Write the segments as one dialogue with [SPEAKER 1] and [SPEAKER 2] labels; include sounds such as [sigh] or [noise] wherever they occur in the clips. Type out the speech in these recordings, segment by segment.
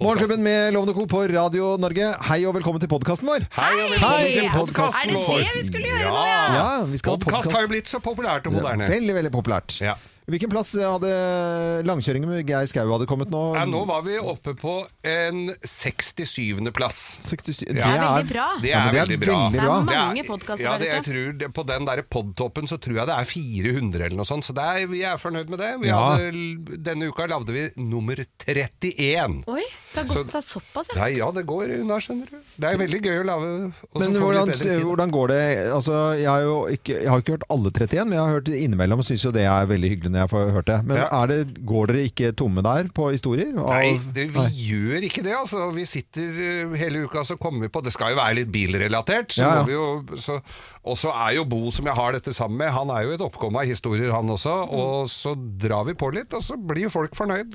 [SPEAKER 1] Morgenklubben med Lovende Co. på Radio Norge. Hei og velkommen til podkasten vår.
[SPEAKER 2] Hei, og velkommen
[SPEAKER 1] Hei!
[SPEAKER 2] til
[SPEAKER 1] Er
[SPEAKER 2] podkasten
[SPEAKER 1] det det
[SPEAKER 2] vår.
[SPEAKER 3] vi skulle gjøre nå, ja?
[SPEAKER 1] Ja, vi skal ha
[SPEAKER 2] Podcast
[SPEAKER 1] podcast.
[SPEAKER 2] har jo blitt så populært og moderne.
[SPEAKER 1] Veldig, veldig populært.
[SPEAKER 2] Ja.
[SPEAKER 1] Hvilken plass hadde langkjøringen med Geir Skau hadde kommet nå?
[SPEAKER 2] Ja, nå var vi oppe på en 67. plass.
[SPEAKER 1] 67.
[SPEAKER 2] Det er
[SPEAKER 3] veldig bra.
[SPEAKER 2] Det er,
[SPEAKER 1] Ja, men det er
[SPEAKER 2] veldig bra.
[SPEAKER 1] veldig
[SPEAKER 3] Det er
[SPEAKER 1] bra.
[SPEAKER 3] mange
[SPEAKER 2] Det er-
[SPEAKER 3] podcaster
[SPEAKER 2] ja,
[SPEAKER 3] der
[SPEAKER 2] det- jeg tror det- På den der podtoppen så tror jeg det er 400 eller noe sånt, så det er, vi er fornøyd med det. Vi
[SPEAKER 1] Ja.
[SPEAKER 2] hadde, denne uka lagde vi nummer 31.
[SPEAKER 3] Oi, det har
[SPEAKER 2] Så-
[SPEAKER 3] gått av såpass, ja.
[SPEAKER 2] Nei, ja, det går unna, skjønner du. Det er veldig gøy å lage og så
[SPEAKER 1] Men
[SPEAKER 2] får vi
[SPEAKER 1] hvordan,
[SPEAKER 2] bedre tid.
[SPEAKER 1] hvordan går det? Altså, jeg har jo ikke, jeg har ikke hørt alle 31, men jeg har hørt innimellom og syns jo det er veldig hyggelig når jeg får hørt det. Men
[SPEAKER 2] Ja.
[SPEAKER 1] er det, går dere ikke tomme der på historier? Av-
[SPEAKER 2] Nei, det, vi gjør ikke det. Altså. Vi sitter eh, hele uka så kommer vi på Det skal jo være litt bilrelatert. Så
[SPEAKER 1] Ja, ja.
[SPEAKER 2] må vi jo, så, og så er jo Bo, som jeg har dette sammen med, han er jo et oppkomme av historier, han også.
[SPEAKER 1] Mm.
[SPEAKER 2] Og så drar vi på litt, og så blir jo folk fornøyd.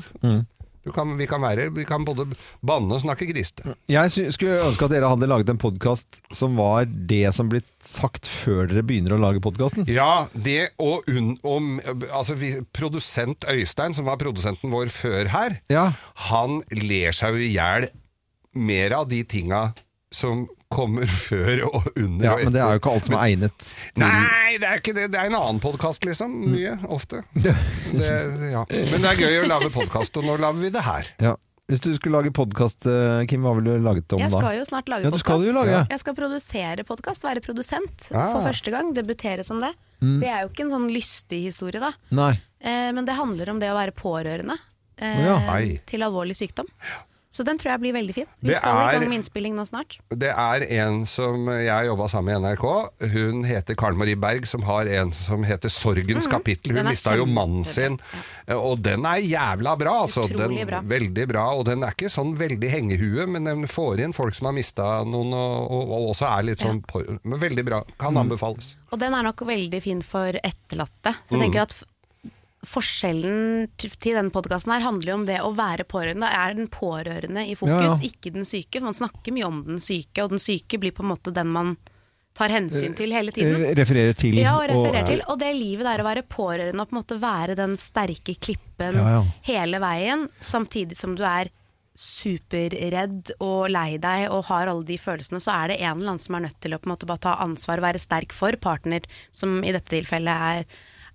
[SPEAKER 2] Du kan, vi, kan være, vi kan både banne og snakke grisete.
[SPEAKER 1] Jeg sy skulle ønske at dere hadde laget en podkast som var det som blitt sagt før dere begynner å lage podkasten.
[SPEAKER 2] Ja, det og unn om Altså, vi, produsent Øystein, som var produsenten vår før her,
[SPEAKER 1] Ja.
[SPEAKER 2] han ler seg jo i hjel mer av de tinga som kommer [laughs] før og under
[SPEAKER 1] Ja,
[SPEAKER 2] og
[SPEAKER 1] men det er jo
[SPEAKER 2] etter.
[SPEAKER 1] ikke alt som er egnet til
[SPEAKER 2] Nei, det er ikke det. Det er en annen podkast, liksom. Mye.
[SPEAKER 1] [laughs]
[SPEAKER 2] Ofte. Det, ja. Men det er gøy å lage podkast, og nå lager vi det her.
[SPEAKER 1] ja. Hvis du skulle lage podkast, Kim, hva ville du laget det om
[SPEAKER 3] Jeg
[SPEAKER 1] da?
[SPEAKER 3] skal jo snart lage
[SPEAKER 1] Ja, du skal
[SPEAKER 3] podcast.
[SPEAKER 1] jo lage, ja.
[SPEAKER 3] Jeg skal produsere podkast, være produsent
[SPEAKER 2] Ah.
[SPEAKER 3] for første gang. Debutere som det.
[SPEAKER 1] Mm.
[SPEAKER 3] Det er jo ikke en sånn lystig historie, da.
[SPEAKER 1] Nei.
[SPEAKER 3] Eh, men det handler om det å være pårørende eh,
[SPEAKER 1] Ja.
[SPEAKER 2] Hei.
[SPEAKER 3] til alvorlig sykdom. Så den tror jeg blir veldig fin. Vi
[SPEAKER 2] Det
[SPEAKER 3] skal i
[SPEAKER 2] er-
[SPEAKER 3] gang med innspilling nå snart.
[SPEAKER 2] Det er en som jeg jobba sammen med i NRK. Hun heter Karen Marie Berg, som har en som heter 'Sorgens kapittel'.
[SPEAKER 3] Mhm. Den
[SPEAKER 2] Hun
[SPEAKER 3] er
[SPEAKER 2] mista jo mannen sin,
[SPEAKER 3] kjempebra.
[SPEAKER 2] og den er jævla bra. Altså. Den,
[SPEAKER 3] Utrolig bra.
[SPEAKER 2] Veldig bra. Og den er ikke sånn veldig hengehue, men den får inn folk som har mista noen, og, og, og også er litt sånn på- Men veldig bra. Kan
[SPEAKER 1] Mm.
[SPEAKER 2] anbefales.
[SPEAKER 3] Og den er nok veldig fin for etterlatte. Jeg
[SPEAKER 1] Mm.
[SPEAKER 3] tenker at f- Forskjellen t- til denne podkasten handler jo om det å være pårørende. Da er den pårørende i fokus,
[SPEAKER 1] Ja, ja.
[SPEAKER 3] ikke den syke. For man snakker mye om den syke, og den syke blir på en måte den man tar
[SPEAKER 1] Eh,
[SPEAKER 3] hensyn til hele tiden.
[SPEAKER 1] Re- Referere til
[SPEAKER 3] Ja, og refererer til. Og det livet det er å være pårørende og på en måte være den sterke klippen
[SPEAKER 1] Ja, ja.
[SPEAKER 3] hele veien, samtidig som du er superredd og lei deg og har alle de følelsene, så er det en eller annen som er nødt til å på en måte bare ta ansvar og være sterk for partner, som i dette tilfellet er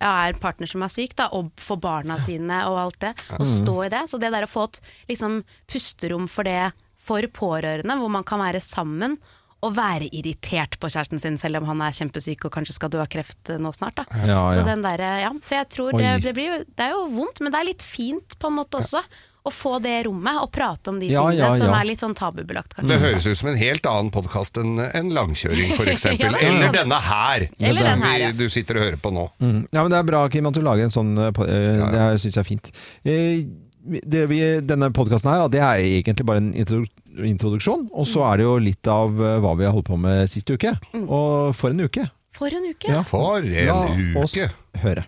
[SPEAKER 3] ja, er en partner som er syk, da, og for barna sine og alt det. Og
[SPEAKER 1] Mm.
[SPEAKER 3] stå i det. Så det der å få et liksom, pusterom for det for pårørende, hvor man kan være sammen og være irritert på kjæresten sin, selv om han er kjempesyk og kanskje skal dø av kreft eh, nå snart. Da.
[SPEAKER 1] Ja, ja.
[SPEAKER 3] Så, den der, eh, ja. så jeg tror det,
[SPEAKER 1] Oi.
[SPEAKER 3] det, blir, jo- det er jo vondt, men det er litt fint på en måte også. Å få det rommet og prate om de
[SPEAKER 1] Ja,
[SPEAKER 3] tingene
[SPEAKER 1] ja,
[SPEAKER 3] som
[SPEAKER 1] ja.
[SPEAKER 3] er litt sånn tabubelagt,
[SPEAKER 1] Mm.
[SPEAKER 3] kanskje.
[SPEAKER 2] Det høres ut som en helt annen podkast enn en langkjøring,
[SPEAKER 3] [laughs]
[SPEAKER 2] f.eks.
[SPEAKER 3] Ja, det er
[SPEAKER 2] Eller
[SPEAKER 3] det.
[SPEAKER 2] denne her,
[SPEAKER 3] Eller den
[SPEAKER 2] som
[SPEAKER 3] her, ja.
[SPEAKER 2] vi, du sitter og hører på nå.
[SPEAKER 1] Mm. Ja, men Det er bra, Kim, at du lager en sånn eh, po- eh, Det er- syns jeg er fint. Eh, Det vi, denne podkasten her, det er egentlig bare en intro- introduksjon. Og så
[SPEAKER 3] Mm.
[SPEAKER 1] er det jo litt av eh, hva vi har holdt på med sist uke. Og for en uke!
[SPEAKER 3] For en uke!
[SPEAKER 1] Ja.
[SPEAKER 2] For en
[SPEAKER 1] La
[SPEAKER 2] uke!
[SPEAKER 1] oss høre.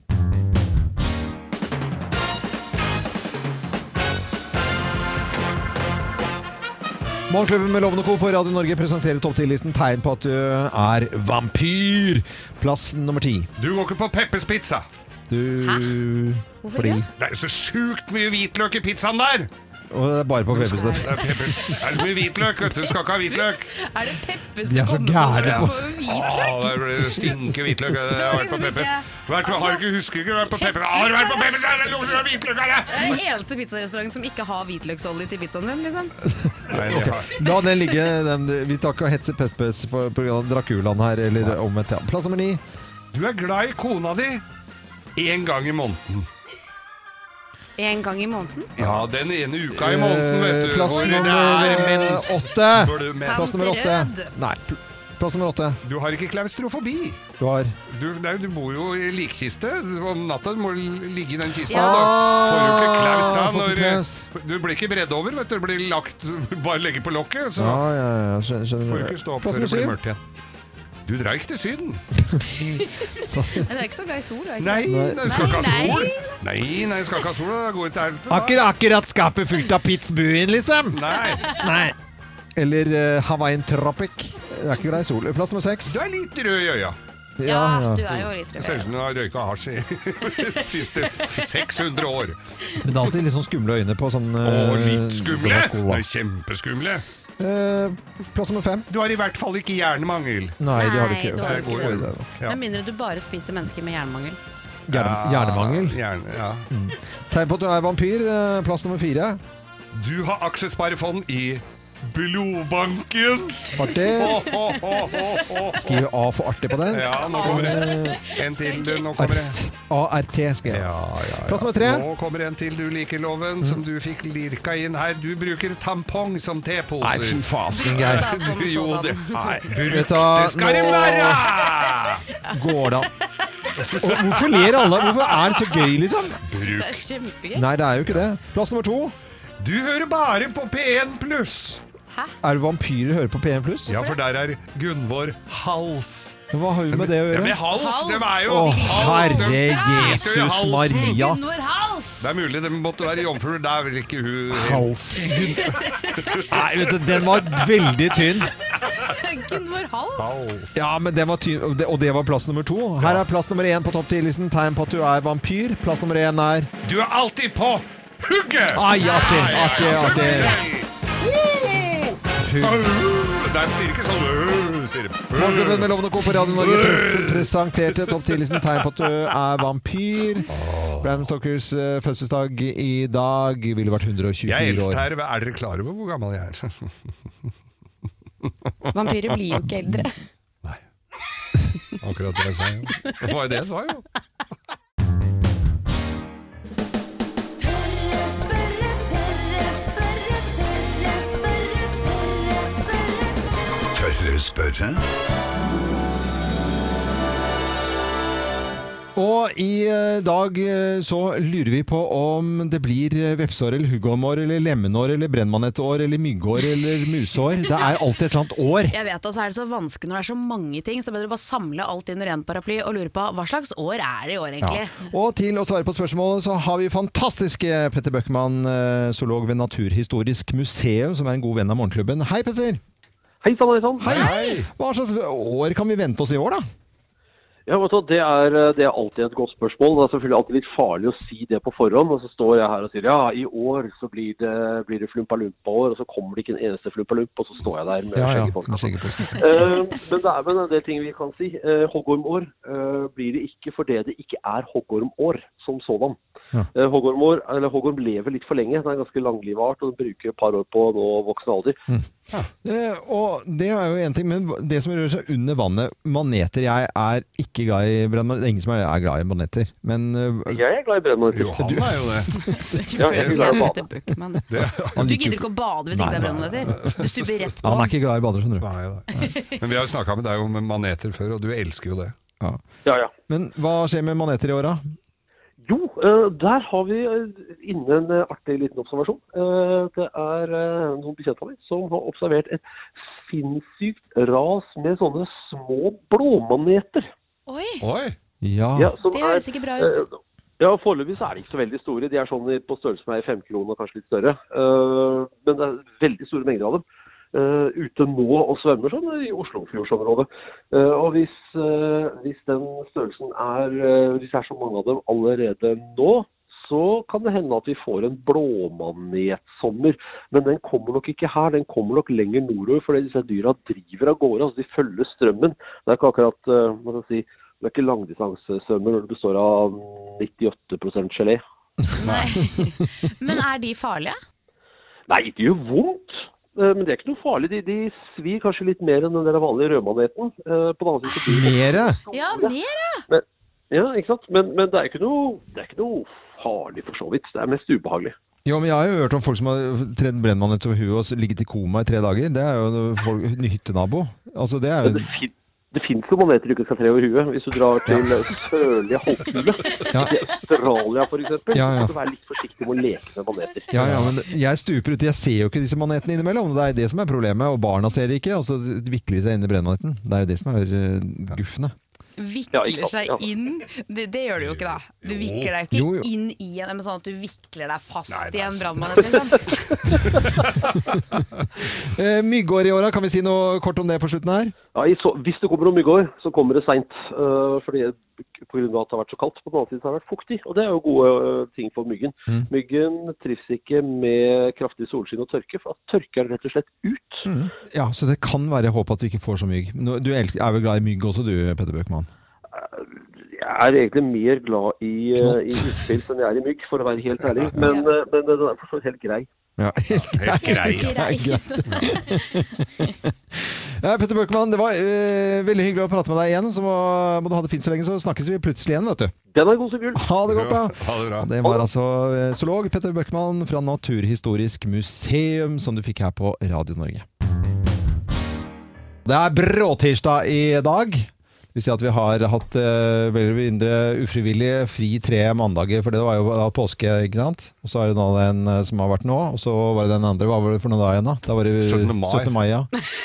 [SPEAKER 1] Morgenklubben med Lovende Co. på Radio Norge presenterer topp 10-listen tegn på at du er vampyr. Plass nummer ti.
[SPEAKER 2] Du går ikke på Peppers Pizza!
[SPEAKER 1] Du
[SPEAKER 3] Hæ? Hvorfor
[SPEAKER 1] Fordi
[SPEAKER 3] ikke?
[SPEAKER 2] Det er jo så sjukt mye hvitløk i pizzaen der!
[SPEAKER 1] Og det er bare på Pepperstedt.
[SPEAKER 2] Det er, pepper. det er så mye hvitløk, vet du. Du skal ikke ha hvitløk.
[SPEAKER 4] Er det Peppes
[SPEAKER 1] De er så
[SPEAKER 4] som kommer
[SPEAKER 1] gærne på-
[SPEAKER 4] på hvit?
[SPEAKER 2] Å, Ah, det stinker hvitløk. Jeg har vært på
[SPEAKER 4] liksom
[SPEAKER 2] Peppes.
[SPEAKER 4] ikke-
[SPEAKER 2] Vært på, har du ikke husket ikke vært på Peppes? Har du vært på Peppes? Ja, Det lukter av hvitløk her!
[SPEAKER 4] Det er den eneste pizzarestauranten som ikke har hvitløksolje til pizzaen din. liksom.
[SPEAKER 2] Nei, det har-
[SPEAKER 1] La den ligge. Den, vi tar ikke og hetse Peppers for pga. Draculaen her, eller omvendt. ja. Plass nummer ni.
[SPEAKER 2] Du er glad i kona di én gang i måneden.
[SPEAKER 3] En gang i måneden?
[SPEAKER 2] Ja, den ene uka i måneden, vet du.
[SPEAKER 1] Eh, Plass
[SPEAKER 2] Hvor det
[SPEAKER 1] nummer
[SPEAKER 2] er
[SPEAKER 1] eh,
[SPEAKER 2] mens-
[SPEAKER 1] åtte.
[SPEAKER 2] Hvor du men-
[SPEAKER 1] Plass nummer åtte.
[SPEAKER 4] Tanterød.
[SPEAKER 1] Nei. pl- Plass nummer åtte.
[SPEAKER 2] Du har ikke klaustrofobi.
[SPEAKER 1] Du har
[SPEAKER 2] Du, nei, du bor jo i likkiste. Om natta må du ligge i den kista.
[SPEAKER 3] Ja.
[SPEAKER 2] Da får du ikke klaus da.
[SPEAKER 1] Ah, får ikke klaus.
[SPEAKER 2] Når, eh, du blir ikke bredd over, vet du. Du blir lagt Bare legge på lokket, så
[SPEAKER 1] Ja, ja, ja. Skjønner.
[SPEAKER 2] får du
[SPEAKER 1] skjønner.
[SPEAKER 2] ikke stå opp
[SPEAKER 1] Plass
[SPEAKER 2] før det
[SPEAKER 1] nummer syv.
[SPEAKER 2] blir mørkt igjen. Du drar ikke til Syden.
[SPEAKER 4] Men du er ikke så glad i sol, er du ikke?
[SPEAKER 2] Nei,
[SPEAKER 1] Nei.
[SPEAKER 2] du skal ikke ha
[SPEAKER 4] Nei,
[SPEAKER 2] sol. Nei, nei, du skal ikke ha sol. Da går du til helvete. da.
[SPEAKER 1] Akker, akkurat skapet fullt av Pitzbuen, liksom!
[SPEAKER 2] Nei,
[SPEAKER 1] Nei. Eller eh, Hawaiian Tropic. Det er ikke grei sol. Plass nummer seks.
[SPEAKER 2] du er litt rød i øya.
[SPEAKER 5] Ja,
[SPEAKER 1] ja.
[SPEAKER 5] du er jo litt
[SPEAKER 2] Det ser ut
[SPEAKER 5] rød.
[SPEAKER 2] som du har røyka hasj i [laughs] de siste 600 år.
[SPEAKER 1] Men det er alltid litt sånn skumle øyne på sånn
[SPEAKER 2] Og
[SPEAKER 1] eh,
[SPEAKER 2] litt skumle!
[SPEAKER 1] Dracula.
[SPEAKER 2] Det er Kjempeskumle.
[SPEAKER 1] Eh, plass nummer fem.
[SPEAKER 2] Du har i hvert fall ikke hjernemangel.
[SPEAKER 1] Nei, de har det
[SPEAKER 5] Nei,
[SPEAKER 1] ikke.
[SPEAKER 5] du har ikke
[SPEAKER 1] Får-
[SPEAKER 2] det. Ja.
[SPEAKER 5] Med mindre du bare spiser mennesker med jernmangel.
[SPEAKER 1] Hjerne, hjernemangel.
[SPEAKER 2] Hjerne, ja.
[SPEAKER 1] Tegn på at du er vampyr. eh, Plass nummer fire.
[SPEAKER 2] Du har aksjesparefond i blodbanken! [laughs]
[SPEAKER 1] Artig.
[SPEAKER 2] Ho, ho, ho, ho, ho.
[SPEAKER 1] Skriv A for artig på den.
[SPEAKER 2] Ja, nå kommer det. En til, du. Nå kommer det.
[SPEAKER 1] Art. ART skrev jeg.
[SPEAKER 2] Ja, ja, ja.
[SPEAKER 1] Plass nummer tre. Mm.
[SPEAKER 2] Nå kommer en til du liker loven, som du fikk lirka inn her. Du bruker tampong som
[SPEAKER 1] Nei, fy
[SPEAKER 2] teposer.
[SPEAKER 1] fasken,
[SPEAKER 5] Ja,
[SPEAKER 1] Geir.
[SPEAKER 5] da, som
[SPEAKER 2] [laughs] Jo,
[SPEAKER 5] sådan.
[SPEAKER 2] det-
[SPEAKER 1] Nei,
[SPEAKER 2] Brukt,
[SPEAKER 1] [laughs] vet du hva,
[SPEAKER 2] det skal det
[SPEAKER 1] nå-
[SPEAKER 2] være!
[SPEAKER 1] Går det an? Og hvorfor ler alle? Hvorfor er det så gøy, liksom?
[SPEAKER 5] Det er
[SPEAKER 2] Brukt.
[SPEAKER 5] kjempegøy.
[SPEAKER 1] Nei, det er jo ikke det. Plass nummer to.
[SPEAKER 2] Du hører bare på P1 pluss.
[SPEAKER 1] Er det vampyrer hører på P1 pluss?
[SPEAKER 2] Ja, for der er Gunvor Hals.
[SPEAKER 1] Hva har hun med det å
[SPEAKER 2] Ja, men
[SPEAKER 1] gjøre?
[SPEAKER 2] hals,
[SPEAKER 3] Hals.
[SPEAKER 2] dem er jo
[SPEAKER 1] Å,
[SPEAKER 2] hals, dem
[SPEAKER 1] herre
[SPEAKER 2] sitter jo i
[SPEAKER 1] Jesus
[SPEAKER 2] halsen.
[SPEAKER 1] Maria.
[SPEAKER 3] Gunvor Hals!
[SPEAKER 2] Det er mulig de måtte være jomfruer. Det er vel ikke hun
[SPEAKER 1] Hals. Hun- Nei, vet du, den var veldig tynn.
[SPEAKER 3] Gunvor Hals?
[SPEAKER 1] Ja, men den var tynn, og det- og det var plass nummer to. Her er plass nummer én på topp 10-listen. Tegn på at du er vampyr. Plass nummer én er
[SPEAKER 2] Du er alltid på hugget!
[SPEAKER 1] Ai, artig, artig, artig. Fy-
[SPEAKER 2] De sier ikke sånn øh, sier
[SPEAKER 1] Morgenklubben
[SPEAKER 2] de.
[SPEAKER 1] med Lovende Co. på Radio Norge pres presenterte topp 10-listen tegn på at du er vampyr. Bram Stokers eh, fødselsdag i dag ville vært 124
[SPEAKER 2] Jeg er eldst
[SPEAKER 1] år.
[SPEAKER 2] her. Er dere klar over hvor gammel jeg
[SPEAKER 1] [laughs]
[SPEAKER 2] er?
[SPEAKER 5] Vampyrer blir jo ikke eldre.
[SPEAKER 2] Nei. Akkurat det jeg sa, jo. Det var jo det jeg sa, jo.
[SPEAKER 4] Tørre spørre, tørre spørre, tørre spørre, tørre spørre.
[SPEAKER 6] Tørre spørre?
[SPEAKER 1] Og i eh, dag eh, så lurer vi på om det blir eh, vepseår eller huggormår eller lemenår eller brennmanettår eller myggår eller musår. Det er alltid et sånt år.
[SPEAKER 5] Jeg vet, og så er det så vanskelig når det er så mange ting, så er det bedre å bare samle alt under én paraply og lure på hva slags år er det i år, egentlig?
[SPEAKER 1] Ja.
[SPEAKER 5] [laughs]
[SPEAKER 1] Og til å svare på spørsmålet så har vi fantastiske Petter Bøckmann, eh, zoolog ved Naturhistorisk museum, som er en god venn av Morgenklubben. Hei, Petter!
[SPEAKER 7] Hei sann, hei sann.
[SPEAKER 1] Hei. Hva slags år kan vi vente oss i år, da?
[SPEAKER 7] Ja, vet du hva, det, er, eh, det er alltid et godt spørsmål. Det er selvfølgelig alltid litt farlig å si det på forhånd. Og så står jeg her og sier ja, i år så blir det, blir det flumpalumpa-år. Og så kommer det ikke en eneste flumpalump, og så står jeg der med skjegget på.
[SPEAKER 2] [laughs]
[SPEAKER 1] med skjegget på skallen.
[SPEAKER 7] Eh, men det er vel en del ting vi kan si. Eh, hoggormår eh, blir det ikke fordi det ikke er hoggormår som sådan.
[SPEAKER 1] Ja.
[SPEAKER 7] Eh, hoggormår, eller hoggorm lever litt for lenge. Den er en ganske langlivart og den bruker et par år på å nå voksen alder.
[SPEAKER 1] Eh, og det er jo en ting, men det som rører seg under vannet Maneter Jeg er ikke glad i brannmaneter. Det er ingen som er, er glad i maneter. Men eh,
[SPEAKER 7] Jeg er glad i brennmaneter.
[SPEAKER 2] Jo, han er jo det.
[SPEAKER 7] Ja, jeg er glad i å bade.
[SPEAKER 5] Bøckmann.
[SPEAKER 2] det
[SPEAKER 1] [laughs]
[SPEAKER 5] Du gidder ikke å bade hvis ikke det er brannmaneter. Du stuper rett på.
[SPEAKER 1] han er ikke glad i bader, skjønner du.
[SPEAKER 2] Nei, nei. Men vi har jo snakka med deg om maneter før, og du elsker jo det.
[SPEAKER 1] Ja.
[SPEAKER 7] Ja, ja.
[SPEAKER 1] Men hva skjer med maneter i åra?
[SPEAKER 7] Jo, eh, der har vi eh, inne en eh, artig liten observasjon. Eh, Det er eh, noen bekjente av meg som har observert et sinnssykt ras med sånne små blåmaneter.
[SPEAKER 5] Oi,
[SPEAKER 2] Oi!
[SPEAKER 1] Ja.
[SPEAKER 7] Ja, som
[SPEAKER 5] det
[SPEAKER 7] er-
[SPEAKER 5] høres ikke bra ut.
[SPEAKER 7] Eh, Ja, Foreløpig så er de ikke så veldig store. De er sånn i- på størrelse med ei femkrone, kanskje litt større. Eh, Men det er veldig store mengder av dem. eh, ute nå og svømmer sånn i Oslofjordsområdet. Eh, og hvis, eh, hvis den størrelsen er eh, Hvis det er så mange av dem allerede nå, så kan det hende at vi får en blåmanetsommer. Men den kommer nok ikke her, den kommer nok lenger nordover. Fordi disse dyra driver av gårde, altså de følger strømmen. Det er ikke akkurat eh, hva skal jeg si, det er ikke langdistansesvømmer når det består av 98 gelé.
[SPEAKER 5] Nei. [laughs] Men er de farlige?
[SPEAKER 7] Nei, det gjør vondt. eh, Men det er ikke noe farlig. De, de svir kanskje litt mer enn den der vanlige rødmaneten. eh, På den andre siden så blir de
[SPEAKER 1] Mere?
[SPEAKER 5] Ja, mer, ja!
[SPEAKER 7] Ja, ikke sant? Men, men det, er ikke noe, det er ikke noe farlig for så vidt. Det er mest ubehagelig.
[SPEAKER 1] Jo, men jeg har jo hørt om folk som har tredd brennmanet over huet og s- ligget i koma i tre dager. Det er jo folk, en hyttenabo. Altså, det er
[SPEAKER 7] Men
[SPEAKER 1] jo
[SPEAKER 7] det, fin, det fins jo maneter du ikke skal tre over huet. Hvis du drar til sørlige halvkule,
[SPEAKER 1] Ja.
[SPEAKER 7] til Australia f.eks.,
[SPEAKER 1] Ja,
[SPEAKER 7] så
[SPEAKER 1] ja.
[SPEAKER 7] skal du være litt forsiktig med å leke med maneter.
[SPEAKER 1] ja, ja, men jeg stuper uti. Jeg ser jo ikke disse manetene innimellom. Det er det som er problemet. Og barna ser det ikke, og så vikler de seg inn i brennmaneten. Det er jo det som er eh, guffende.
[SPEAKER 7] Ja, ikke
[SPEAKER 3] Vikler
[SPEAKER 7] sant,
[SPEAKER 3] seg
[SPEAKER 7] ja.
[SPEAKER 3] inn? Det, det gjør du jo ikke, da. Du vikler deg
[SPEAKER 1] Jo,
[SPEAKER 3] jo
[SPEAKER 1] jo.
[SPEAKER 3] ikke inn i en, men sånn at du vikler deg fast
[SPEAKER 2] Nei, nei,
[SPEAKER 3] i en
[SPEAKER 2] så-
[SPEAKER 3] brannmann. Liksom.
[SPEAKER 1] Eh, Myggår i åra, kan vi si noe kort om det på slutten her?
[SPEAKER 7] Ja, i så, hvis det kommer om myggår, så kommer det seint. Uh, fordi Pga. at det har vært så kaldt. På den annen side så har det vært fuktig, og det er jo gode øh, ting for myggen. Myggen trives ikke med kraftig solskinn og tørke, for da tørker den rett og slett ut.
[SPEAKER 1] Ja, så det kan være håp at vi ikke får så mygg. Nå- Du el- er vel glad i mygg også, du, Petter Bøckmann?
[SPEAKER 7] Jeg er egentlig mer glad i, uh, i utspill enn jeg er i mygg, for å være helt ærlig. Men, øh, men den er for så vidt helt grei.
[SPEAKER 1] [laughs] Ja.
[SPEAKER 2] Helt
[SPEAKER 1] [laughs]
[SPEAKER 2] grei. ja.
[SPEAKER 1] Nei, greit. Ja, Petter Bøckmann, det var eh, veldig hyggelig å prate med deg igjen. Så må, må du ha det fint så lenge, så snakkes vi plutselig igjen, vet du.
[SPEAKER 7] Den er god som jul.
[SPEAKER 1] Ha det godt, da!
[SPEAKER 2] Ja, ha det bra.
[SPEAKER 1] Og det var altså eh, zoolog Petter Bøckmann fra Naturhistorisk museum som du fikk her på Radio Norge. Det er bråtirsdag i dag. Det vil si at vi har hatt eh, vel eller mindre ufrivillig fri tre mandager, for det var jo da påske, ikke sant? Og så er det da den eh, som har vært nå, og så var det den andre. Hva var det for noen dager igjen, da? da var det
[SPEAKER 2] 17. mai.
[SPEAKER 1] 17. mai, ja.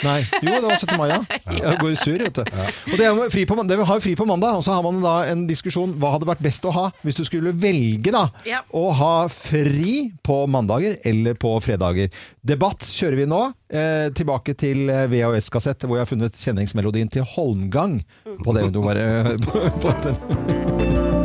[SPEAKER 1] Nei, jo, det var 17. mai, ja. Jeg går sur, vet du. Og det er jo fri på, man- det har jo fri på mandag, og så har man da en diskusjon hva hadde vært best å ha hvis du skulle velge da,
[SPEAKER 3] Ja.
[SPEAKER 1] å ha fri på mandager eller på fredager. Debatt kjører vi nå, eh, tilbake til eh, VHS-kassett, hvor jeg har funnet kjenningsmelodien til Holmgang på det du bare... På, [laughs] på den.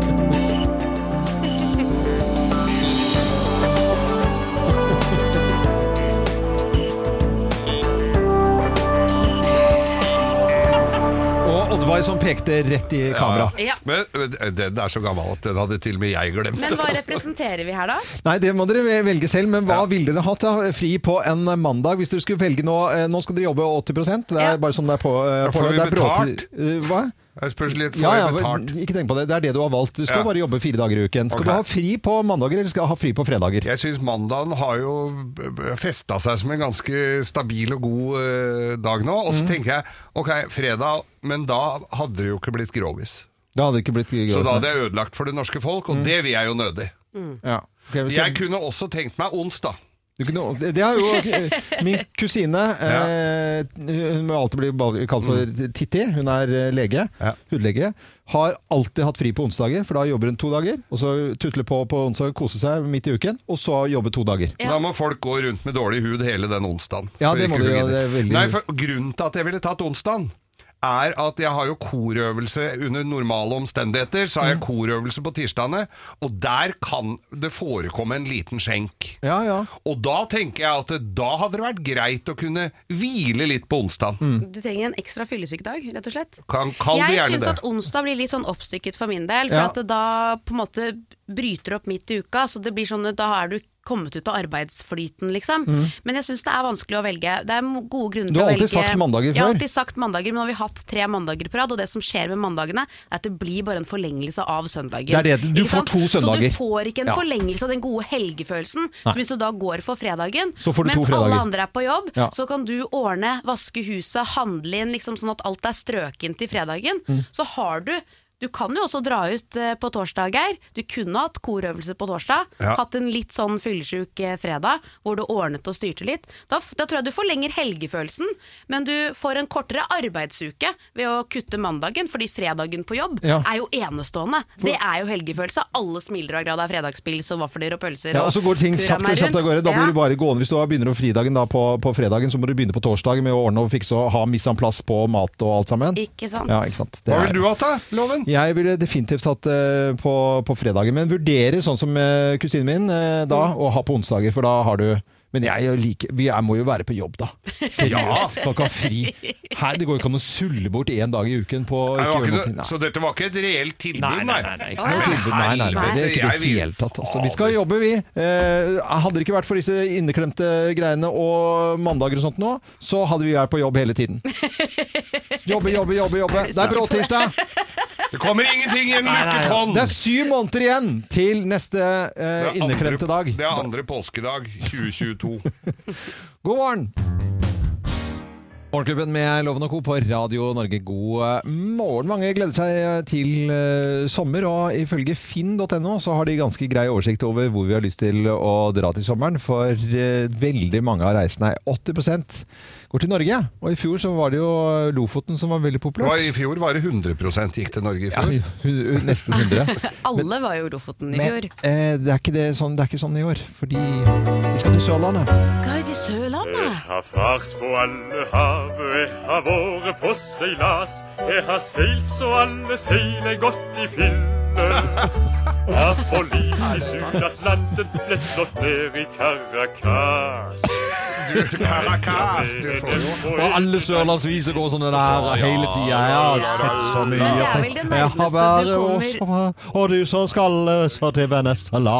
[SPEAKER 1] Og Oddvar som pekte rett i kamera.
[SPEAKER 3] Ja.
[SPEAKER 2] Men øh, den er så gammel at den hadde til og med jeg glemt.
[SPEAKER 3] Men hva representerer vi her, da?
[SPEAKER 1] Nei, det må dere velge selv, men hva ville dere hatt da, fri på en mandag hvis dere skulle velge nå? eh, Nå skal dere jobbe 80 det er
[SPEAKER 3] Ja.
[SPEAKER 1] bare sånn det er på. eh,
[SPEAKER 2] Ja, får
[SPEAKER 1] på-
[SPEAKER 2] vi
[SPEAKER 1] det er bråti-
[SPEAKER 2] betalt?
[SPEAKER 1] Eh, Hva?
[SPEAKER 2] Jeg spørs litt, får
[SPEAKER 1] Ja, ja,
[SPEAKER 2] jeg betalt?
[SPEAKER 1] ikke tenk på det. Det er det du har valgt. Du skal
[SPEAKER 2] Ja.
[SPEAKER 1] bare jobbe fire dager i uken. Skal
[SPEAKER 2] Ok.
[SPEAKER 1] du ha fri på mandager, eller skal du ha fri på fredager?
[SPEAKER 2] Jeg syns mandagen har jo festa seg som en ganske stabil og god eh, dag nå. Og så
[SPEAKER 1] Mhm.
[SPEAKER 2] tenker jeg ok, fredag, men da hadde det jo ikke blitt grovis.
[SPEAKER 1] Da hadde det ikke blitt
[SPEAKER 2] Så
[SPEAKER 1] grått.
[SPEAKER 2] da hadde jeg ødelagt for det norske folk,
[SPEAKER 1] Mhm.
[SPEAKER 2] og det vil jeg jo nødig.
[SPEAKER 1] Ja. Ok, hvis
[SPEAKER 2] Jeg
[SPEAKER 1] jeg-
[SPEAKER 2] kunne også tenkt meg onsdag.
[SPEAKER 1] Du kunne- Det har jo min kusine eh, Hun må alltid bli bal- kalt for Titti. Hun er eh, lege,
[SPEAKER 2] Ja.
[SPEAKER 1] hudlege. Har alltid hatt fri på onsdager, for da jobber hun to dager. Og så tutle på på onsdag, kose seg midt i uken, og så jobbe to dager.
[SPEAKER 3] Ja.
[SPEAKER 2] Da må folk gå rundt med dårlig hud hele den onsdagen.
[SPEAKER 1] Ja,
[SPEAKER 2] For
[SPEAKER 1] det må
[SPEAKER 2] ikke
[SPEAKER 1] du
[SPEAKER 2] å
[SPEAKER 1] gjøre,
[SPEAKER 2] gidde.
[SPEAKER 1] det er veldig-
[SPEAKER 2] Nei, for Grunnen til at jeg ville tatt onsdagen, er at jeg har jo korøvelse under normale omstendigheter.
[SPEAKER 1] Mhm.
[SPEAKER 2] Så har jeg korøvelse på tirsdagene, og der kan det forekomme en liten skjenk.
[SPEAKER 1] Ja, ja.
[SPEAKER 2] Og da tenker jeg at det- da hadde det vært greit å kunne hvile litt på onsdag.
[SPEAKER 1] Mm,
[SPEAKER 3] Du trenger en ekstra fyllesykedag, rett og slett.
[SPEAKER 2] Kan, kan du
[SPEAKER 3] jeg
[SPEAKER 2] gjerne
[SPEAKER 3] syns
[SPEAKER 2] det?
[SPEAKER 3] at onsdag blir litt sånn oppstykket for min del, for
[SPEAKER 1] Ja.
[SPEAKER 3] at det da på en måte bryter opp midt i uka, så det blir sånn at da er du kommet ut av arbeidsflyten, liksom. Men jeg syns det er vanskelig å velge. Det er mo- gode grunner
[SPEAKER 1] Mm. Du
[SPEAKER 3] til å
[SPEAKER 1] har
[SPEAKER 3] velge
[SPEAKER 1] alltid sagt mandager
[SPEAKER 3] Jeg har
[SPEAKER 1] før.
[SPEAKER 3] alltid sagt mandager, men nå har vi hatt tre mandager på rad, og det som skjer med mandagene, er at det blir bare en forlengelse av søndager.
[SPEAKER 1] Det er det, du
[SPEAKER 3] Ikke
[SPEAKER 1] får
[SPEAKER 3] sant?
[SPEAKER 1] to søndager.
[SPEAKER 3] Så du får ikke en
[SPEAKER 1] Ja.
[SPEAKER 3] forlengelse av den gode helgefølelsen. Så hvis du da går for fredagen,
[SPEAKER 1] Så får du to
[SPEAKER 3] mens
[SPEAKER 1] fredager.
[SPEAKER 3] alle andre er på jobb,
[SPEAKER 1] Ja.
[SPEAKER 3] så kan du ordne, vaske huset, handle inn, liksom sånn at alt er strøkent til fredagen.
[SPEAKER 1] Mm.
[SPEAKER 3] Så har du Du kan jo også dra ut eh, på torsdag, Geir. Du kunne hatt korøvelse på torsdag.
[SPEAKER 2] Ja.
[SPEAKER 3] Hatt en litt sånn fyllesyk eh, fredag, hvor du ordnet og styrte litt. Da, f- da tror jeg du forlenger helgefølelsen, men du får en kortere arbeidsuke ved å kutte mandagen, fordi fredagen på jobb
[SPEAKER 1] Ja.
[SPEAKER 3] er jo enestående. Det er jo helgefølelse. Alle smiler av grad av fredagspils og vafler og pølser.
[SPEAKER 1] Ja, og så går ting
[SPEAKER 3] kurra
[SPEAKER 1] kjapt
[SPEAKER 3] meg
[SPEAKER 1] kjapt
[SPEAKER 3] rundt.
[SPEAKER 1] av gårde. Da blir
[SPEAKER 3] Ja.
[SPEAKER 1] du bare gående. Hvis du har- begynner å fridagen da på, på fredagen, så må du begynne på torsdag med å ordne og fikse og ha miss en plass på mat og alt sammen.
[SPEAKER 3] Ikke sant?
[SPEAKER 1] Ja, ikke sant? Det
[SPEAKER 2] Hva
[SPEAKER 1] er-
[SPEAKER 2] ville du hatt, da? Loven?
[SPEAKER 1] Jeg ville definitivt hatt eh, på, på fredager, men vurderer sånn som eh, kusinen min eh, da, å ha på onsdager, for da har du men jeg, er jo like, vi er, må jo være på [laughs] jobb, da. Seriøst. Kan ikke ha fri. Her, det går jo ikke an å sulle bort én dag i uken på å
[SPEAKER 2] Nei, det
[SPEAKER 1] ikke
[SPEAKER 2] var
[SPEAKER 1] gjøre
[SPEAKER 2] ikke
[SPEAKER 1] noe.
[SPEAKER 2] noe- Så dette var ikke et reelt tilbud,
[SPEAKER 1] Nei, nei, nei, nei, ikke noe
[SPEAKER 2] Men
[SPEAKER 1] tilbud. Nei, nei, nei, det er ikke det
[SPEAKER 2] jeg
[SPEAKER 1] i
[SPEAKER 2] vil-
[SPEAKER 1] hele tatt. Altså, vi skal jobbe, vi. Eh, hadde det ikke vært for disse inneklemte greiene og mandager og sånt nå, så hadde vi vært på jobb hele [laughs] tiden. Jobbe, jobbe, jobbe. jobbe. Det er bråtirsdag!
[SPEAKER 2] Det kommer ingenting i en
[SPEAKER 1] Nei, nei, nei.
[SPEAKER 2] lukketonn!
[SPEAKER 1] Det er syv måneder igjen til neste eh,
[SPEAKER 2] Det er
[SPEAKER 1] inneklemte
[SPEAKER 2] andre-
[SPEAKER 1] dag.
[SPEAKER 2] Det er andre påskedag 2022.
[SPEAKER 1] God morgen! Morgenklubben med Loven og Co. på Radio Norge, god eh, morgen. Mange gleder seg til eh, sommer, og ifølge finn.no så har de ganske grei oversikt over hvor vi har lyst til å dra til sommeren, for eh, veldig mange av reisene, 80 går til Norge. Og i fjor så var det jo Lofoten som var veldig
[SPEAKER 2] Det var,
[SPEAKER 1] populært.
[SPEAKER 2] I fjor var det 100 gikk til Norge i
[SPEAKER 1] Ja,
[SPEAKER 2] fjor.
[SPEAKER 1] hu- hu- nesten 100.
[SPEAKER 3] Alle var jo i Lofoten [laughs] i
[SPEAKER 1] Men
[SPEAKER 3] fjor.
[SPEAKER 1] eh, det, er ikke det, sånn, det er ikke sånn i år, fordi vi skal til Sørlandet. Eh.
[SPEAKER 3] Skal vi til Sørlandet?
[SPEAKER 6] Jeg har fart på alle hav, hav, og jeg har vært på seilas. Jeg har seilt så alle seiler godt i finne. Har forlist i Sør-Atlanten, blitt slått ned i Caracas.
[SPEAKER 2] Caracas, du får jo
[SPEAKER 1] Og alle sørlandsviser går sånn der hele tida. Jeg har sett så mye.
[SPEAKER 3] Det er vel
[SPEAKER 1] Jeg
[SPEAKER 3] det
[SPEAKER 1] tenker, jeg
[SPEAKER 3] nærmeste
[SPEAKER 1] har vært
[SPEAKER 3] du kommer.
[SPEAKER 1] også fra- Og du som skal så til Venezuela.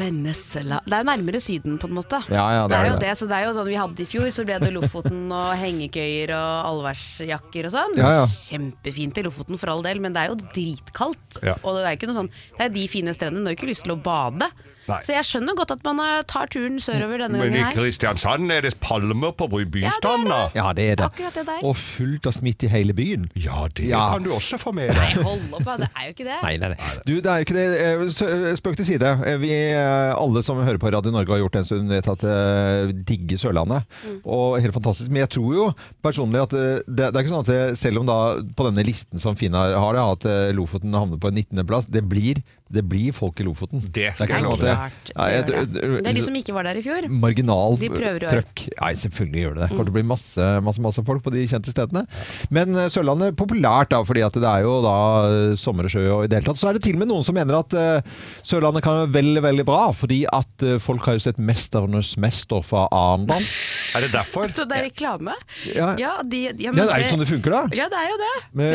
[SPEAKER 3] Vennesla Det er jo nærmere Syden, på en måte.
[SPEAKER 1] Ja, ja, det
[SPEAKER 3] det
[SPEAKER 1] er
[SPEAKER 3] er jo
[SPEAKER 1] det.
[SPEAKER 3] det. Så det er jo sånn vi hadde i fjor, så ble det Lofoten og hengekøyer og allværsjakker og sånn.
[SPEAKER 1] Ja, ja.
[SPEAKER 3] Kjempefint i Lofoten for all del, men det er jo dritkaldt.
[SPEAKER 2] Ja.
[SPEAKER 3] Og det er jo ikke noe sånn Det er de fine strendene, du har jo ikke lyst til å bade.
[SPEAKER 2] Nei.
[SPEAKER 3] Så jeg skjønner godt at man eh, tar turen sørover denne
[SPEAKER 2] Men i
[SPEAKER 3] gangen her.
[SPEAKER 2] Kristiansand er det palmer på bystranda.
[SPEAKER 3] Ja,
[SPEAKER 1] Ja, det er det.
[SPEAKER 3] Akkurat det der.
[SPEAKER 1] Og fullt av smitte i hele byen.
[SPEAKER 2] Ja, det
[SPEAKER 1] Ja.
[SPEAKER 2] kan du også få med deg.
[SPEAKER 3] Hold opp, da. Det er jo ikke det.
[SPEAKER 1] Nei, nei, nei. Du, det er jo ikke det. Eh, s- eh, Spøk til side. Eh, Vi, eh, alle som hører på Radio Norge har gjort det en stund, vet at det digger Sørlandet.
[SPEAKER 3] Mm.
[SPEAKER 1] Og helt fantastisk. Men jeg tror jo personlig at eh, det, det er ikke sånn at det, selv om da på denne listen som Finn har, har det, at eh, Lofoten havner på 19. plass, det blir, det blir folk i Lofoten.
[SPEAKER 2] Det
[SPEAKER 1] er ikke
[SPEAKER 2] skal jeg
[SPEAKER 1] sånn at
[SPEAKER 2] love
[SPEAKER 1] det-
[SPEAKER 3] deg.
[SPEAKER 1] Nei, jeg-
[SPEAKER 3] Det gjør Det er de som ikke var der i fjor.
[SPEAKER 1] marginal
[SPEAKER 3] De prøver i år.
[SPEAKER 1] trøkk. Nei, selvfølgelig gjør det det. Det kommer til å bli masse, masse, masse folk på de kjente stedene. Men eh, Sørlandet er populært, da, fordi at det er jo da eh, sommer og sjø og i det hele tatt. Så er det til og med noen som mener at eh, Sørlandet kan være veldig, veldig bra, fordi at eh, folk har jo sett 'Mesternes mester' fra Arendal.
[SPEAKER 2] Er det derfor?
[SPEAKER 3] Så det er reklame?
[SPEAKER 1] Ja.
[SPEAKER 3] de, ja, men eh,
[SPEAKER 1] Ja, det er jo sånn det funker, da.
[SPEAKER 3] Ja, det er jo det.
[SPEAKER 1] Med,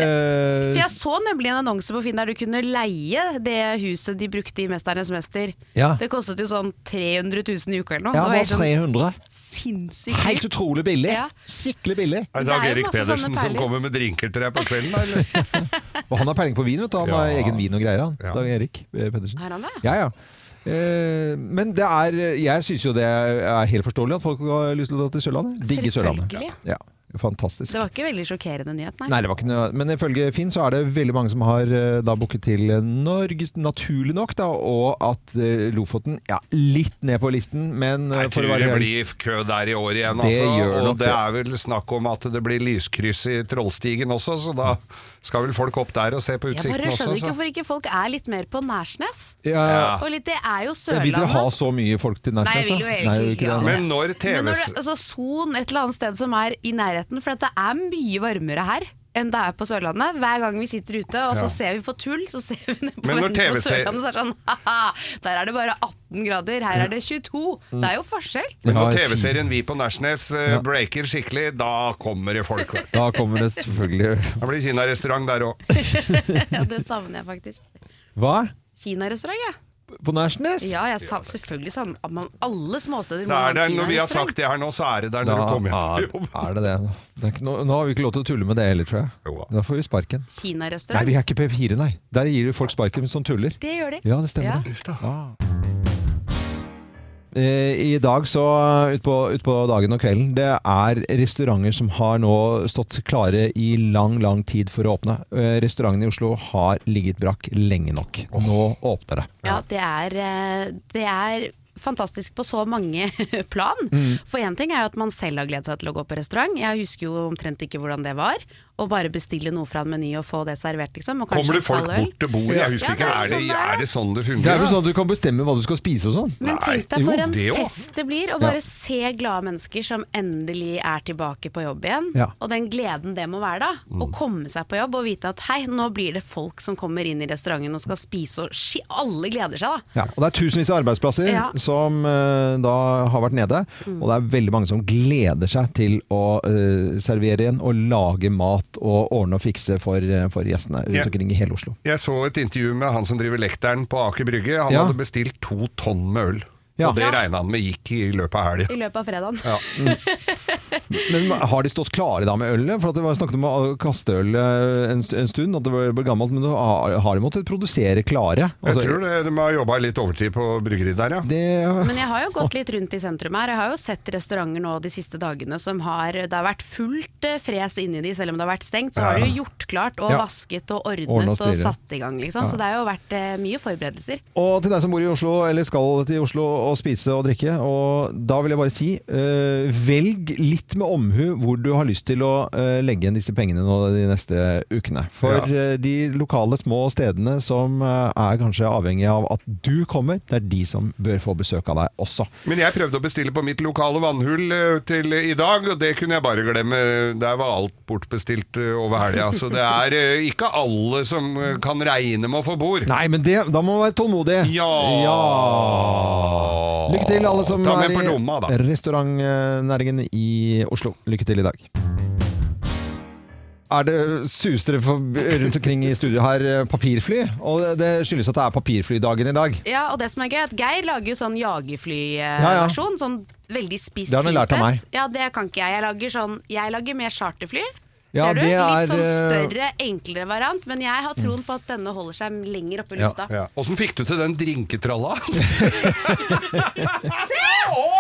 [SPEAKER 3] For jeg så nemlig en annonse på Finn der du kunne leie det huset de brukte i 'Mesternes mester'.
[SPEAKER 1] Ja.
[SPEAKER 3] Det kostet jo sånn 300 000 i uka eller noe. det var
[SPEAKER 1] ja, bare
[SPEAKER 3] helt sånn
[SPEAKER 1] 300.
[SPEAKER 3] sinnssykt
[SPEAKER 1] Helt
[SPEAKER 3] dyrt.
[SPEAKER 1] utrolig billig.
[SPEAKER 3] Ja.
[SPEAKER 1] Skikkelig billig.
[SPEAKER 2] Er
[SPEAKER 3] Det er
[SPEAKER 2] det Dag
[SPEAKER 3] jo
[SPEAKER 2] Erik
[SPEAKER 3] masse sånne
[SPEAKER 2] Pedersen som
[SPEAKER 3] perler.
[SPEAKER 2] kommer med drinker til deg på kvelden?
[SPEAKER 1] [laughs]
[SPEAKER 2] da, Eller?
[SPEAKER 1] Og han har peiling på vin, vet du. Han har
[SPEAKER 2] Ja.
[SPEAKER 1] egen vin og greier, han.
[SPEAKER 2] Ja.
[SPEAKER 1] Dag Erik eh, Pedersen.
[SPEAKER 3] Har han det?
[SPEAKER 1] Ja, ja. Eh, Men det er, jeg syns jo det er helt forståelig at folk har lyst til å dra til Sørlandet. Digge Sørlandet.
[SPEAKER 3] Selvfølgelig.
[SPEAKER 1] Ja, fantastisk.
[SPEAKER 3] Det var ikke veldig sjokkerende nyhet, nei.
[SPEAKER 1] Nei, det var ikke noe. Men ifølge Finn så er det veldig mange som har eh, da booket til Norge, naturlig nok. da, Og at eh, Lofoten ja, litt ned på listen, men eh,
[SPEAKER 2] Jeg
[SPEAKER 1] for
[SPEAKER 2] tror
[SPEAKER 1] å være
[SPEAKER 2] det
[SPEAKER 1] helt-
[SPEAKER 2] blir kø der i år igjen,
[SPEAKER 1] Det
[SPEAKER 2] altså.
[SPEAKER 1] gjør
[SPEAKER 2] Og
[SPEAKER 1] nok
[SPEAKER 2] det
[SPEAKER 1] det.
[SPEAKER 2] er vel snakk om at det blir lyskryss i Trollstigen også, så da skal vel folk opp der og se på
[SPEAKER 3] Jeg
[SPEAKER 2] utsikten
[SPEAKER 3] bare
[SPEAKER 2] også.
[SPEAKER 3] skjønner ikke
[SPEAKER 2] Så.
[SPEAKER 3] hvorfor ikke folk er litt mer på Nærsnes.
[SPEAKER 1] altså. ja,
[SPEAKER 2] Ja.
[SPEAKER 3] Og litt, det er jo
[SPEAKER 1] ja, Vil dere ha
[SPEAKER 3] Sørlandet.
[SPEAKER 1] så mye folk til
[SPEAKER 3] Nei, jeg
[SPEAKER 1] Nærsnes?
[SPEAKER 3] vil jo
[SPEAKER 1] da?
[SPEAKER 3] egentlig
[SPEAKER 1] Nei, vil
[SPEAKER 3] ikke
[SPEAKER 1] dere
[SPEAKER 3] ha
[SPEAKER 1] det?
[SPEAKER 3] det.
[SPEAKER 2] Men når
[SPEAKER 3] Men når
[SPEAKER 2] TVs
[SPEAKER 3] det, altså Son, et eller annet sted som er i nærheten, for at det er mye varmere her enn det er på Sørlandet. Hver gang vi sitter ute og så
[SPEAKER 2] Ja.
[SPEAKER 3] ser vi på tull, så ser vi ned på,
[SPEAKER 2] Men når
[SPEAKER 3] enden på
[SPEAKER 2] TV-serier-
[SPEAKER 3] Sørlandet, så er det sånn [laughs] haha, der er det bare 18 grader, her er det 22. Det er jo forskjell.
[SPEAKER 2] Men når
[SPEAKER 1] Ja,
[SPEAKER 2] TV-serien Vi på Nærsnes eh,
[SPEAKER 1] Ja.
[SPEAKER 2] breaker skikkelig, da kommer det folk. vet du.
[SPEAKER 1] Da kommer det selvfølgelig
[SPEAKER 2] Da blir det kinarestaurant der òg.
[SPEAKER 3] Ja, [laughs] det savner jeg faktisk.
[SPEAKER 1] Hva?
[SPEAKER 3] Kinarestaurant, ja.
[SPEAKER 1] På Nærsnes?
[SPEAKER 3] Ja, jeg sa, selvfølgelig savner at man alle småsteder må
[SPEAKER 2] Det
[SPEAKER 3] ha
[SPEAKER 2] er
[SPEAKER 3] en
[SPEAKER 2] der, når vi har
[SPEAKER 3] kinarestaurant.
[SPEAKER 2] sagt det her nå, så er det der
[SPEAKER 1] Da
[SPEAKER 2] når du kommer
[SPEAKER 1] er,
[SPEAKER 2] hjem. fra jobb.
[SPEAKER 1] er det det. det er ikke, nå, nå har vi ikke lov til å tulle med det heller, tror jeg.
[SPEAKER 2] Jo da.
[SPEAKER 1] Da får vi sparken. Nei,
[SPEAKER 3] Kinarestaurant.
[SPEAKER 1] vi er ikke P4, nei. Der gir du folk sparken som tuller.
[SPEAKER 3] Det gjør de.
[SPEAKER 1] Ja, det
[SPEAKER 3] Ja.
[SPEAKER 1] stemmer. det. Eh, I dag så utpå ut på dagen og kvelden Det er restauranter som har nå stått klare i lang, lang tid for å åpne. Eh, Restauranten i Oslo har ligget brakk lenge nok. Nå åpner det.
[SPEAKER 3] Ja, det er, eh, det er fantastisk på så mange [laughs] plan.
[SPEAKER 2] Mm.
[SPEAKER 3] For én ting er jo at man selv har gledet seg til å gå på restaurant. Jeg husker jo omtrent ikke hvordan det var. Å bare bestille noe fra en meny og få det servert, liksom. Og kanskje
[SPEAKER 2] Kommer det
[SPEAKER 3] en
[SPEAKER 2] folk
[SPEAKER 3] kald øl.
[SPEAKER 2] bort til bordet? Jeg husker
[SPEAKER 3] Ja, det
[SPEAKER 2] ikke.
[SPEAKER 3] er jo
[SPEAKER 2] Er det,
[SPEAKER 3] sånn det er,
[SPEAKER 2] er det sånn det
[SPEAKER 1] Det er
[SPEAKER 2] fungerer?
[SPEAKER 1] vel sånn at du kan bestemme hva du skal spise og sånn.
[SPEAKER 3] Men
[SPEAKER 2] Nei,
[SPEAKER 3] tenk deg
[SPEAKER 2] jo,
[SPEAKER 3] for en
[SPEAKER 2] det jo.
[SPEAKER 3] fest det blir, å
[SPEAKER 1] Ja.
[SPEAKER 3] bare se glade mennesker som endelig er tilbake på jobb igjen.
[SPEAKER 1] Ja.
[SPEAKER 3] Og den gleden det må være da. Å
[SPEAKER 2] Mm.
[SPEAKER 3] komme seg på jobb og vite at hei, nå blir det folk som kommer inn i restauranten og skal spise og ski. Alle gleder seg da.
[SPEAKER 1] Ja, og det er tusenvis av arbeidsplasser
[SPEAKER 3] Ja.
[SPEAKER 1] som eh, da har vært nede. Og det er veldig mange som gleder seg til å eh, servere igjen og lage mat og ordne og fikse for, eh, for gjestene rundt
[SPEAKER 2] Ja.
[SPEAKER 1] omkring i hele Oslo.
[SPEAKER 2] Jeg så et intervju med han som driver lekteren på Aker Brygge. Han
[SPEAKER 1] Ja.
[SPEAKER 2] hadde bestilt to tonn med øl.
[SPEAKER 1] Ja.
[SPEAKER 2] Og det
[SPEAKER 1] Ja.
[SPEAKER 2] regna han med gikk i løpet av helga.
[SPEAKER 3] I løpet av fredagen.
[SPEAKER 1] Men har de stått klare da med ølet? For at det var snakket om å kaste øl eh, en, st- en stund, at det var- ble gammelt. Men da har har de måttet produsere klare?
[SPEAKER 2] Jeg
[SPEAKER 1] Altså,
[SPEAKER 2] tror det, de har jobba litt overtid på bryggeriet der, ja.
[SPEAKER 1] det
[SPEAKER 3] Men jeg har jo gått litt rundt i sentrum her. Jeg har jo sett restauranter nå de siste dagene som har Det har vært fullt eh, fres inni de, selv om det har vært stengt. Så har
[SPEAKER 2] Ja.
[SPEAKER 3] de jo gjort klart og
[SPEAKER 1] Ja.
[SPEAKER 3] vasket og
[SPEAKER 1] Ordnet og
[SPEAKER 3] ordnet og
[SPEAKER 1] styret.
[SPEAKER 3] satt i gang, liksom. Så det har jo vært eh, mye forberedelser.
[SPEAKER 1] Og til deg som bor i Oslo, eller skal til Oslo og spise og drikke, og da vil jeg bare si eh, velg litt med omhu hvor du har lyst til å eh, legge igjen disse pengene nå de neste ukene. For eh, de lokale små stedene som eh, er kanskje avhengig av at du kommer, det er de som bør få besøk av deg også.
[SPEAKER 2] Men jeg prøvde å bestille på mitt lokale vannhull eh, til i dag, og det kunne jeg bare glemme. Der var alt bortbestilt eh, over helga. Så det er eh, ikke alle som eh, kan regne med å få bord.
[SPEAKER 1] Nei, men det, da må man være tålmodig.
[SPEAKER 2] Ja.
[SPEAKER 1] Ja. Lykke til, alle som
[SPEAKER 2] Ta
[SPEAKER 1] er
[SPEAKER 2] med på lomma, da.
[SPEAKER 1] i restaurantnæringen i Oslo. Lykke til i dag. Er det suser det for- rundt omkring i studio her eh, papirfly? Og det- det skyldes at det er papirflydagen i dag.
[SPEAKER 3] Ja, og det som er gøy, er at Geir lager jo sånn
[SPEAKER 1] Ja, ja.
[SPEAKER 3] jagerflyversjon. Sånn veldig spist
[SPEAKER 1] Det har han lært av
[SPEAKER 3] filpet. Ja, det kan ikke jeg. Jeg lager, sånn, jeg lager mer charterfly. Ser
[SPEAKER 1] Ja,
[SPEAKER 3] du?
[SPEAKER 1] det er,
[SPEAKER 3] Litt sånn
[SPEAKER 1] eh,
[SPEAKER 3] større, enklere variant, men jeg har troen på at denne holder seg lenger oppe i
[SPEAKER 1] Ja,
[SPEAKER 3] lufta.
[SPEAKER 2] Ja. Åssen fikk du til den
[SPEAKER 1] [laughs]
[SPEAKER 2] drinketralla?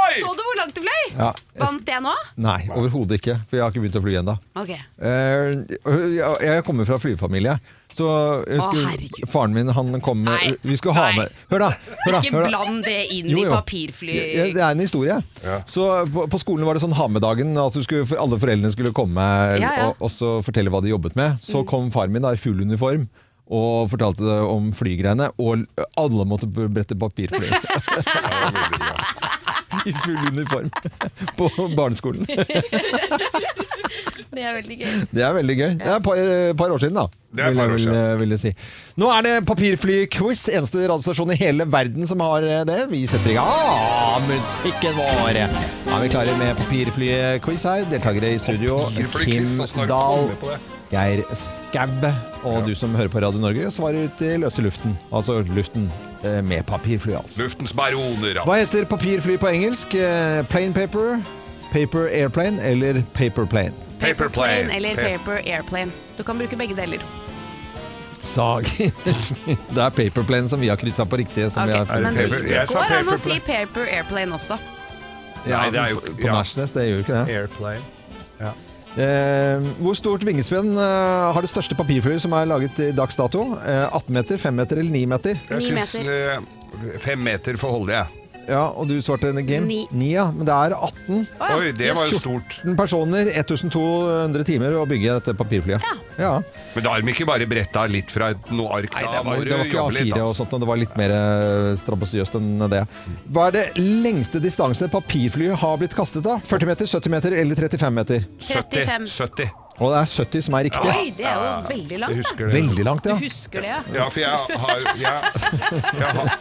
[SPEAKER 3] Så du hvor langt du fløy?
[SPEAKER 1] Ja.
[SPEAKER 3] Vant jeg nå?
[SPEAKER 1] Nei, overhodet ikke, for jeg har ikke begynt å fly ennå.
[SPEAKER 3] Ok.
[SPEAKER 1] Eh, jeg- Jeg kommer fra flyfamilie. Så jeg husker
[SPEAKER 3] herregud.
[SPEAKER 1] faren min han kom med
[SPEAKER 3] Nei,
[SPEAKER 1] Vi skulle ha
[SPEAKER 3] nei.
[SPEAKER 1] med Hør da! Hør da,
[SPEAKER 3] Ikke
[SPEAKER 1] hør da.
[SPEAKER 3] bland det inn
[SPEAKER 1] Jo, jo.
[SPEAKER 3] i papirfly...
[SPEAKER 1] Ja, det er en historie. Så på, på skolen var det sånn ha-med-dagen, at du skulle, alle foreldrene skulle komme
[SPEAKER 3] Ja, Mm. ja.
[SPEAKER 1] Og, og så fortelle hva de jobbet med. Så kom far min da i full uniform og fortalte det om flygreiene, og alle måtte brette papirfly. I full uniform [laughs] på barneskolen.
[SPEAKER 3] Det er veldig gøy.
[SPEAKER 1] Det er veldig gøy. Det er et par, eh, par år siden, da.
[SPEAKER 2] Det er et par
[SPEAKER 1] vil jeg-
[SPEAKER 2] år siden.
[SPEAKER 1] vil- vil jeg si. Nå er det papirfly-quiz. Eneste radiostasjon i hele verden som har eh, det. Vi setter i gang ah, musikken vår. Er vi klare med papirfly-quiz her? Deltakere i studio Kim
[SPEAKER 2] Papirfly-quiz, altså, åssen har du
[SPEAKER 1] Dahl.
[SPEAKER 2] kommet på det?
[SPEAKER 1] Geir Skau og du som hører på Radio Norge, svarer ut i løse luften. Altså luften eh, med papirfly, altså.
[SPEAKER 2] Luftens baroner. altså.
[SPEAKER 1] Hva heter papirfly på engelsk? Eh, Plane paper, paper airplane eller paper plane?
[SPEAKER 2] Paper plane.
[SPEAKER 3] eller
[SPEAKER 2] Pa-
[SPEAKER 3] paper airplane. Du kan bruke begge deler.
[SPEAKER 1] Sag. [laughs] det er paperplane som vi har kryssa på riktig. Som
[SPEAKER 3] Ok,
[SPEAKER 1] vi har
[SPEAKER 3] Men det
[SPEAKER 2] paper- jeg
[SPEAKER 3] det
[SPEAKER 2] sa
[SPEAKER 3] går an
[SPEAKER 2] paper
[SPEAKER 3] å si
[SPEAKER 2] plane.
[SPEAKER 3] paper airplane også.
[SPEAKER 1] ja,
[SPEAKER 2] Nei, det er jo-
[SPEAKER 1] på
[SPEAKER 2] ja.
[SPEAKER 1] Nærsnes, det gjør jo ikke det.
[SPEAKER 2] Airplane. Ja.
[SPEAKER 1] Eh, hvor stort vingespenn eh, har det største papirflyet som er laget i dags dato? Eh, 18 meter, 5 meter eller 9 meter?
[SPEAKER 2] Jeg
[SPEAKER 3] Ni
[SPEAKER 2] syns eh, fem meter får holde, jeg.
[SPEAKER 1] Ja, og du svarte en game?
[SPEAKER 3] Ni.
[SPEAKER 1] 9, ja. Men det er 18
[SPEAKER 2] Oi, det var jo stort.
[SPEAKER 1] 18 personer, 1200 timer å bygge dette papirflyet. Ja.
[SPEAKER 2] Men da har de ikke bare bretta litt fra et- noe ark?
[SPEAKER 1] Nei,
[SPEAKER 2] da
[SPEAKER 1] det
[SPEAKER 2] må
[SPEAKER 1] var,
[SPEAKER 2] du
[SPEAKER 1] det var ikke
[SPEAKER 2] jobbe litt,
[SPEAKER 1] A4 og
[SPEAKER 2] altså.
[SPEAKER 1] sånt, og det var litt mer eh, strabasiøst enn det. Hva er det lengste distanse papirflyet har blitt kastet av? 40 meter, 70 meter eller 35 meter?
[SPEAKER 2] 70.
[SPEAKER 3] 35.
[SPEAKER 2] 70.
[SPEAKER 1] Og det er 70 som er riktig.
[SPEAKER 3] Oi, det er jo veldig
[SPEAKER 2] Jeg
[SPEAKER 3] langt. da.
[SPEAKER 2] husker det.
[SPEAKER 1] Veldig langt, ja.
[SPEAKER 3] Du husker det, ja.
[SPEAKER 2] Ja, for jeg har Jeg, jeg, har,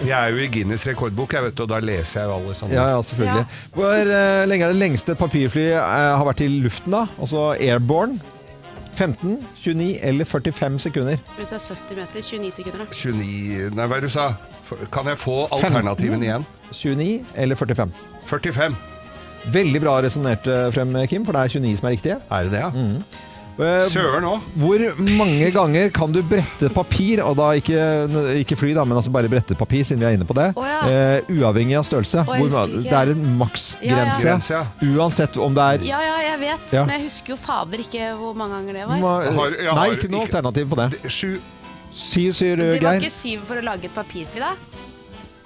[SPEAKER 2] jeg er jo i Guinness rekordbok, jeg vet, du, og da leser jeg jo alle sånne.
[SPEAKER 1] Ja, ja, selvfølgelig. Hvor eh, lenge er det lengste et papirfly eh, har vært i luften, da? Altså airborne? 15, 29 eller 45 sekunder?
[SPEAKER 3] Hvis det er 70 meter, 29 sekunder. da.
[SPEAKER 2] 29 Nei, hva er det du sa? F- Kan jeg få alternativen igjen?
[SPEAKER 1] 29 eller 45?
[SPEAKER 2] 45.
[SPEAKER 1] Veldig bra resonnert eh, frem, Kim, for det er 29 som er riktige.
[SPEAKER 2] Er det det, ja?
[SPEAKER 1] Eh,
[SPEAKER 2] Søren òg.
[SPEAKER 1] Hvor mange ganger kan du brette papir, og da ikke, ikke fly, da, men altså bare brette papir, siden vi er inne på det,
[SPEAKER 3] Å, ja.
[SPEAKER 1] eh, uavhengig av størrelse?
[SPEAKER 3] jeg
[SPEAKER 1] Hvor,
[SPEAKER 3] husker ikke.
[SPEAKER 1] det er en maksgrense,
[SPEAKER 2] Ja, ja. Grense, ja.
[SPEAKER 1] uansett om det er
[SPEAKER 3] Ja, ja, jeg vet,
[SPEAKER 1] Ja.
[SPEAKER 3] men jeg husker jo fader ikke hvor mange ganger det var.
[SPEAKER 1] Ma-
[SPEAKER 2] Har- jeg
[SPEAKER 1] Nei,
[SPEAKER 2] har
[SPEAKER 1] ikke noe
[SPEAKER 2] ikke-
[SPEAKER 1] alternativ på det.
[SPEAKER 2] Sju,
[SPEAKER 1] Syv, sier
[SPEAKER 3] De
[SPEAKER 1] eh,
[SPEAKER 3] var
[SPEAKER 1] Geir.
[SPEAKER 3] ikke syv for å lage et papirfly, da.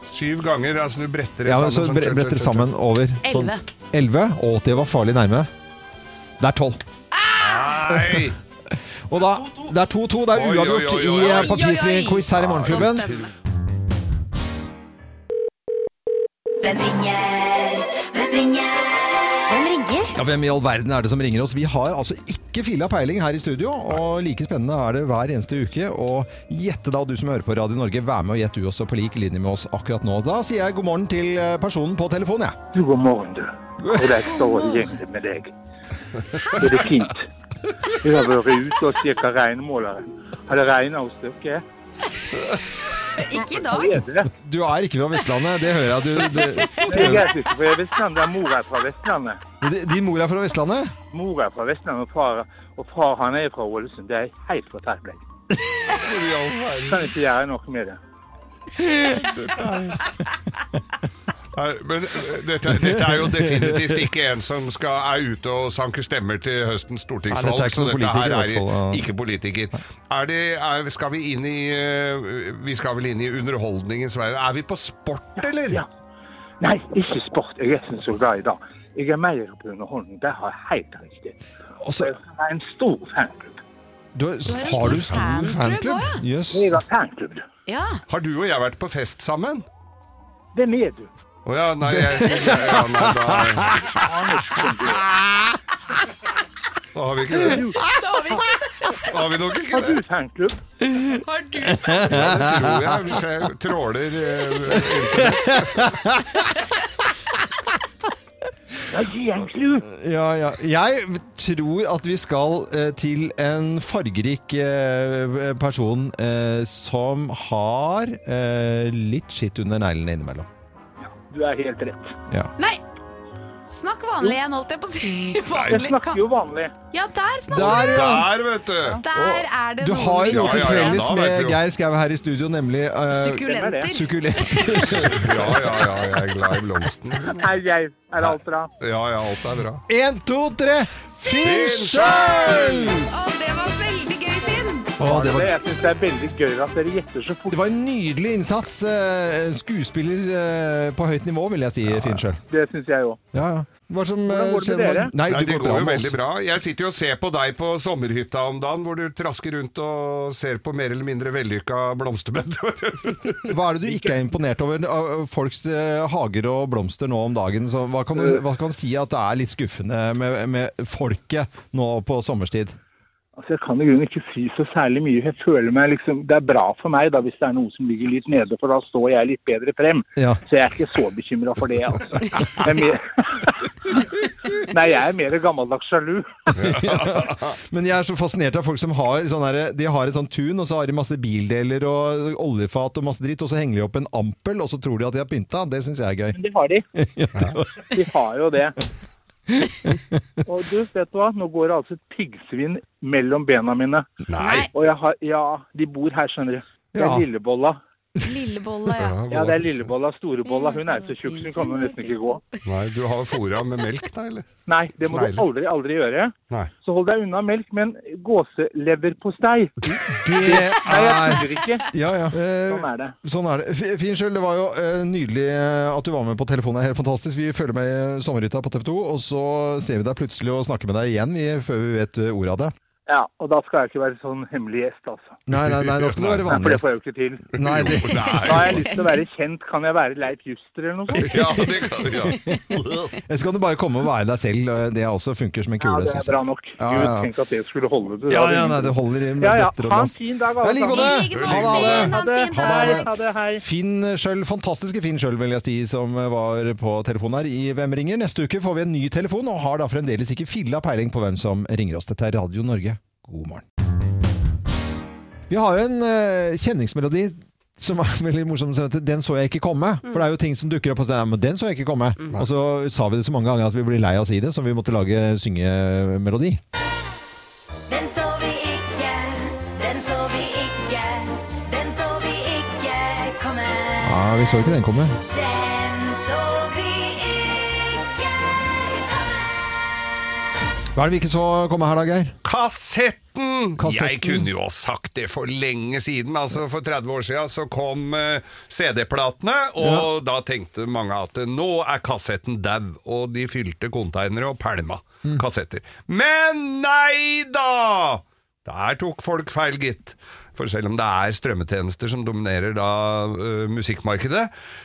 [SPEAKER 2] syv ganger. Altså du bretter det
[SPEAKER 1] Ja, men så
[SPEAKER 2] sammen.
[SPEAKER 1] bre-
[SPEAKER 2] sånn-
[SPEAKER 1] bretter sammen over. Sånn.
[SPEAKER 3] Elleve.
[SPEAKER 1] 11. Å, det var farlig nærme. Det er 12.
[SPEAKER 2] [laughs] Nei!
[SPEAKER 1] Og da, det er 2-2. Det er
[SPEAKER 2] Oi, oi, oi,
[SPEAKER 1] uavgjort i
[SPEAKER 2] oi, oi.
[SPEAKER 1] eh,
[SPEAKER 3] Oi, oi,
[SPEAKER 1] papirfri
[SPEAKER 3] oi.
[SPEAKER 1] quiz her i
[SPEAKER 3] Så
[SPEAKER 1] Morgenklubben.
[SPEAKER 3] spennende.
[SPEAKER 4] Hvem ringer? Hvem ringer? Hvem ringer?
[SPEAKER 1] Ja, Hvem i all verden er det som ringer oss? Vi har altså ikke filla peiling her i studio, og like spennende er det hver eneste uke. Og gjette da, du som hører på Radio Norge, vær med og gjett du også på lik linje med oss akkurat nå. Da sier jeg god morgen til eh, personen på telefonen, jeg.
[SPEAKER 8] Du, god morgen, du. Og der står jeg egentlig med deg. Er det fint? Jeg har vært ute og sjekka regnmåleren. Har det regna hos dere?
[SPEAKER 3] Ikke i dag.
[SPEAKER 8] Er det det?
[SPEAKER 1] Du er ikke fra Vestlandet, det hører [laughs] jeg. Du, du,
[SPEAKER 8] Jeg er ikke for jeg er Vestlandet. Mor er fra Vestlandet.
[SPEAKER 1] Di- din mor er fra Vestlandet?
[SPEAKER 8] Mor er fra Vestlandet, og far, og far han er fra Ålesund. Det er helt forferdelig. Kan ikke gjøre noe med det.
[SPEAKER 2] Nei, Men eh, dette, dette er jo definitivt ikke en som skal, er ute og sanker stemmer til høstens stortingsvalg.
[SPEAKER 1] Nei, dette er ikke
[SPEAKER 2] så
[SPEAKER 1] noen
[SPEAKER 2] dette
[SPEAKER 1] politiker
[SPEAKER 2] her
[SPEAKER 1] i hvert fall, ja.
[SPEAKER 2] er ikke politiker. Er det, er, skal vi inn i eh, Vi skal vel inn i underholdningens verden. Er vi på sport, eller?
[SPEAKER 8] Ja. Nei, ikke sport. Jeg er ikke så glad i dag. Jeg er mer på underholdning. Det har jeg helt riktig.
[SPEAKER 1] Og så-
[SPEAKER 8] Jeg er en stor fanklubb.
[SPEAKER 1] du,
[SPEAKER 3] en
[SPEAKER 1] har du
[SPEAKER 3] stor
[SPEAKER 1] stor
[SPEAKER 3] fanklubb
[SPEAKER 1] fanklubb?
[SPEAKER 3] også,
[SPEAKER 1] Jøss.
[SPEAKER 8] Jeg er fanklubb.
[SPEAKER 3] Ja.
[SPEAKER 2] Har du og jeg vært på fest sammen?
[SPEAKER 8] Hvem er du?
[SPEAKER 2] Å ja, nei, jeg, ja, ja, nei da, da har vi ikke det. Da har vi nok ikke
[SPEAKER 8] Har
[SPEAKER 2] det.
[SPEAKER 8] du fanklubb?
[SPEAKER 2] Det tror jeg, hvis jeg tråler eh,
[SPEAKER 8] Ja, gi en klu.
[SPEAKER 1] Ja, ja. Jeg tror at vi skal eh, til en fargerik eh, person eh, som har eh, litt skitt under neglene innimellom.
[SPEAKER 8] Du er helt rett.
[SPEAKER 1] Ja.
[SPEAKER 3] Nei! Snakk vanlig igjen, holdt jeg på å si.
[SPEAKER 8] Jeg
[SPEAKER 3] Vanlig.
[SPEAKER 8] snakker jo vanlig.
[SPEAKER 3] Ja, der snakker
[SPEAKER 1] Der,
[SPEAKER 3] du!
[SPEAKER 1] ja!
[SPEAKER 2] der, vet du.
[SPEAKER 3] Der er det
[SPEAKER 1] Du har jo
[SPEAKER 2] Ja,
[SPEAKER 1] noe
[SPEAKER 2] ja,
[SPEAKER 1] til
[SPEAKER 2] ja,
[SPEAKER 1] felles
[SPEAKER 2] da vet vi
[SPEAKER 1] med
[SPEAKER 2] jo.
[SPEAKER 1] Geir Skau her i studio, nemlig uh,
[SPEAKER 8] Hvem er
[SPEAKER 3] sukkulenter.
[SPEAKER 8] det?
[SPEAKER 1] sukkulent.
[SPEAKER 2] Ja, ja, ja, jeg er glad i blomsten.
[SPEAKER 8] Hei, jeg. Er alt bra?
[SPEAKER 2] Ja, ja, alt er bra.
[SPEAKER 1] Én, to, tre! Finnskjøl!
[SPEAKER 3] Å, det var veldig gøy, Finn!
[SPEAKER 1] Å, det var
[SPEAKER 8] Jeg syns det er veldig gøy at dere gjetter så fort.
[SPEAKER 1] Det var en nydelig innsats. eh, Skuespiller eh, på høyt nivå, vil jeg si, Finn sjøl.
[SPEAKER 8] Det syns jeg òg.
[SPEAKER 1] Ja, ja. Hva som,
[SPEAKER 8] Hvordan går det
[SPEAKER 1] eh,
[SPEAKER 8] med
[SPEAKER 1] skjer-
[SPEAKER 8] dere?
[SPEAKER 1] Nei,
[SPEAKER 2] Nei,
[SPEAKER 1] det går,
[SPEAKER 2] jo
[SPEAKER 1] bra med
[SPEAKER 2] veldig
[SPEAKER 1] oss.
[SPEAKER 2] bra. Jeg sitter jo og ser på deg på sommerhytta om dagen, hvor du trasker rundt og ser på mer eller mindre vellykka blomsterbed.
[SPEAKER 1] Hva er det du ikke er imponert over av folks eh, hager og blomster nå om dagen? Så hva, kan du, hva kan du si at det er litt skuffende med, med folket nå på sommerstid?
[SPEAKER 8] Altså, jeg kan i grunnen ikke si så særlig mye. Jeg føler meg liksom, Det er bra for meg da, hvis det er noe som ligger litt nede, for da står jeg litt bedre frem.
[SPEAKER 1] Ja.
[SPEAKER 8] Så jeg er ikke så bekymra for det, altså. Jeg er mer... Nei, jeg er mer [laughs] gammeldags sjalu.
[SPEAKER 1] Men jeg er så fascinert av folk som har, sånn her, de har et sånt tun, og så har de masse bildeler og oljefat og masse dritt, og så henger de opp en ampel, og så tror de at de har pynta. Det syns jeg er gøy.
[SPEAKER 8] Men det har de. De har jo
[SPEAKER 1] [laughs]
[SPEAKER 8] det. Og du, vet du hva? Nå går det altså et piggsvin mellom bena mine.
[SPEAKER 2] Nei!
[SPEAKER 8] Og jeg har Ja, de bor her, skjønner du. Det
[SPEAKER 1] Ja.
[SPEAKER 8] er Lillebolla.
[SPEAKER 3] Lillebolle, ja.
[SPEAKER 8] Ja, det er Lillebolla. Storebolla. Hun er jo så tjukk, så hun kan jo nesten ikke gå.
[SPEAKER 2] Nei, du har fôra med melk, da, eller?
[SPEAKER 8] Nei, det må
[SPEAKER 2] Snegler.
[SPEAKER 8] du aldri, aldri gjøre.
[SPEAKER 2] Nei.
[SPEAKER 8] Så hold deg unna melk, men gåseleverpostei
[SPEAKER 1] Det
[SPEAKER 8] Nei, jeg
[SPEAKER 1] er
[SPEAKER 8] tuller ikke.
[SPEAKER 1] Ja, ja. Eh,
[SPEAKER 8] Sånn er det.
[SPEAKER 1] Sånn er det. F- Finn Skyld, det var jo eh, nydelig eh, at du var med på telefonen. Det er Helt fantastisk. Vi følger med i sommerhytta på TV 2, og så ser vi deg plutselig og snakker med deg igjen vi, før vi vet eh, ordet av det.
[SPEAKER 8] Ja, og da skal jeg ikke være sånn hemmelig gjest, altså.
[SPEAKER 1] Nei, nei, nei, da skal du være
[SPEAKER 8] [laughs] Nei, for
[SPEAKER 1] vanlig
[SPEAKER 8] det får
[SPEAKER 1] gjest.
[SPEAKER 8] jeg jo ikke til.
[SPEAKER 1] Nei,
[SPEAKER 8] [laughs]
[SPEAKER 1] det,
[SPEAKER 8] Da har jeg lyst til å være kjent. Kan jeg være Leif Juster eller noe sånt?
[SPEAKER 2] Ja, det kan du
[SPEAKER 1] [laughs]
[SPEAKER 2] gjøre.
[SPEAKER 1] [laughs] så kan du bare komme og være deg selv. eh, Det også funker som
[SPEAKER 8] Ja,
[SPEAKER 1] en kule.
[SPEAKER 8] det
[SPEAKER 1] synes
[SPEAKER 8] er
[SPEAKER 1] jeg.
[SPEAKER 8] bra nok.
[SPEAKER 1] Ja,
[SPEAKER 8] Gud,
[SPEAKER 1] ja.
[SPEAKER 8] tenk at det skulle holde. Du,
[SPEAKER 1] Ja,
[SPEAKER 8] da.
[SPEAKER 1] ja, nei, det holder i med
[SPEAKER 8] ja, ja.
[SPEAKER 1] bøtter og
[SPEAKER 8] Ha en
[SPEAKER 1] glass.
[SPEAKER 8] fin dag,
[SPEAKER 1] Ja,
[SPEAKER 8] alle
[SPEAKER 1] I like
[SPEAKER 8] sammen.
[SPEAKER 1] måte! Ha det!
[SPEAKER 3] Ha
[SPEAKER 1] Ha det!
[SPEAKER 3] det.
[SPEAKER 1] Ha det, ha
[SPEAKER 8] Hei,
[SPEAKER 1] det.
[SPEAKER 8] ha det, hei.
[SPEAKER 1] Finn Schjøll, fantastiske Finn Schjøll, vil jeg si, som var på telefonen her i Hvem ringer. Neste uke får vi en ny telefon, og har da fremdeles ikke filla peiling på hvem som ringer oss. Dette er Radio Norge. God morgen. Vi har jo en eh, kjenningsmelodi som er [laughs] veldig morsom. som heter Den så jeg ikke komme. For det er jo ting som dukker opp og sier «Nei, men den så jeg ikke komme.
[SPEAKER 2] Mm.
[SPEAKER 1] Og så sa vi det så mange ganger at vi ble lei av å si det, så vi måtte lage syngemelodi.
[SPEAKER 4] Den så vi ikke, den så vi ikke, den så vi ikke komme.
[SPEAKER 1] Ja, vi så ikke den komme.
[SPEAKER 4] Den så vi ikke komme.
[SPEAKER 1] Hva er det vi ikke så komme her da, Geir?
[SPEAKER 2] Kassetten!
[SPEAKER 1] Kassetten.
[SPEAKER 2] Jeg kunne jo ha sagt det for lenge siden. Altså For 30 år siden så kom eh, CD-platene, og da tenkte mange at eh, nå er kassetten dau, og de fylte konteinere og pælma kassetter. Men nei da! Der tok folk feil, gitt. For selv om det er strømmetjenester som dominerer da eh, musikkmarkedet,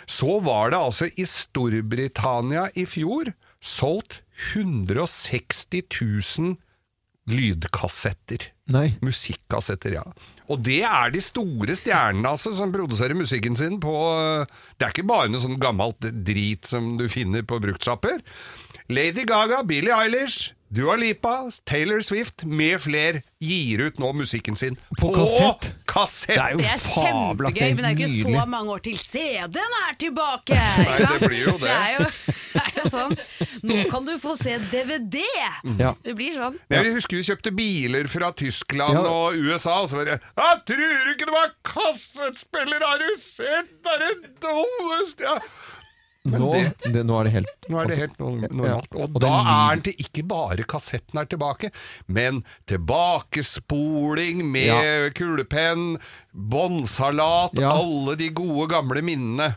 [SPEAKER 2] så var det altså i Storbritannia i fjor solgt 160 000 lydkassetter.
[SPEAKER 1] Nei.
[SPEAKER 2] Musikkassetter, ja. Og det er de store stjernene altså, som produserer musikken sin på eh, Det er ikke bare noe sånn gammelt drit som du finner på bruktsjapper. Lady Gaga, Billie Eilish, Dua Lipa, Taylor Swift med fler gir ut nå musikken sin
[SPEAKER 1] På kassett?
[SPEAKER 2] kassett.
[SPEAKER 1] Det er jo
[SPEAKER 3] Det er
[SPEAKER 1] fabelaktig
[SPEAKER 3] kjempegøy, men det er ikke
[SPEAKER 1] nydelig.
[SPEAKER 3] så mange år til CD-en er tilbake! Nei,
[SPEAKER 2] det blir jo det.
[SPEAKER 3] Det er jo, [laughs] det er jo sånn Nå kan du få se DVD!
[SPEAKER 1] Ja.
[SPEAKER 3] Det blir sånn.
[SPEAKER 2] Men Jeg husker vi kjøpte biler fra Tyskland
[SPEAKER 1] Ja.
[SPEAKER 2] og USA, og så var det Jeg tror ikke det var kassettspiller, har du sett? Det er det dummeste jeg Men
[SPEAKER 1] Nå,
[SPEAKER 2] det-
[SPEAKER 1] det, nå er det helt
[SPEAKER 2] Nå er det helt no- normalt.
[SPEAKER 1] Ja.
[SPEAKER 2] Og,
[SPEAKER 1] Og
[SPEAKER 2] da
[SPEAKER 1] den lyden-
[SPEAKER 2] er den til ikke bare kassetten er tilbake, men tilbakespoling med
[SPEAKER 1] Ja.
[SPEAKER 2] kulepenn, båndsalat,
[SPEAKER 1] Ja. Mm.
[SPEAKER 2] alle de gode gamle minnene.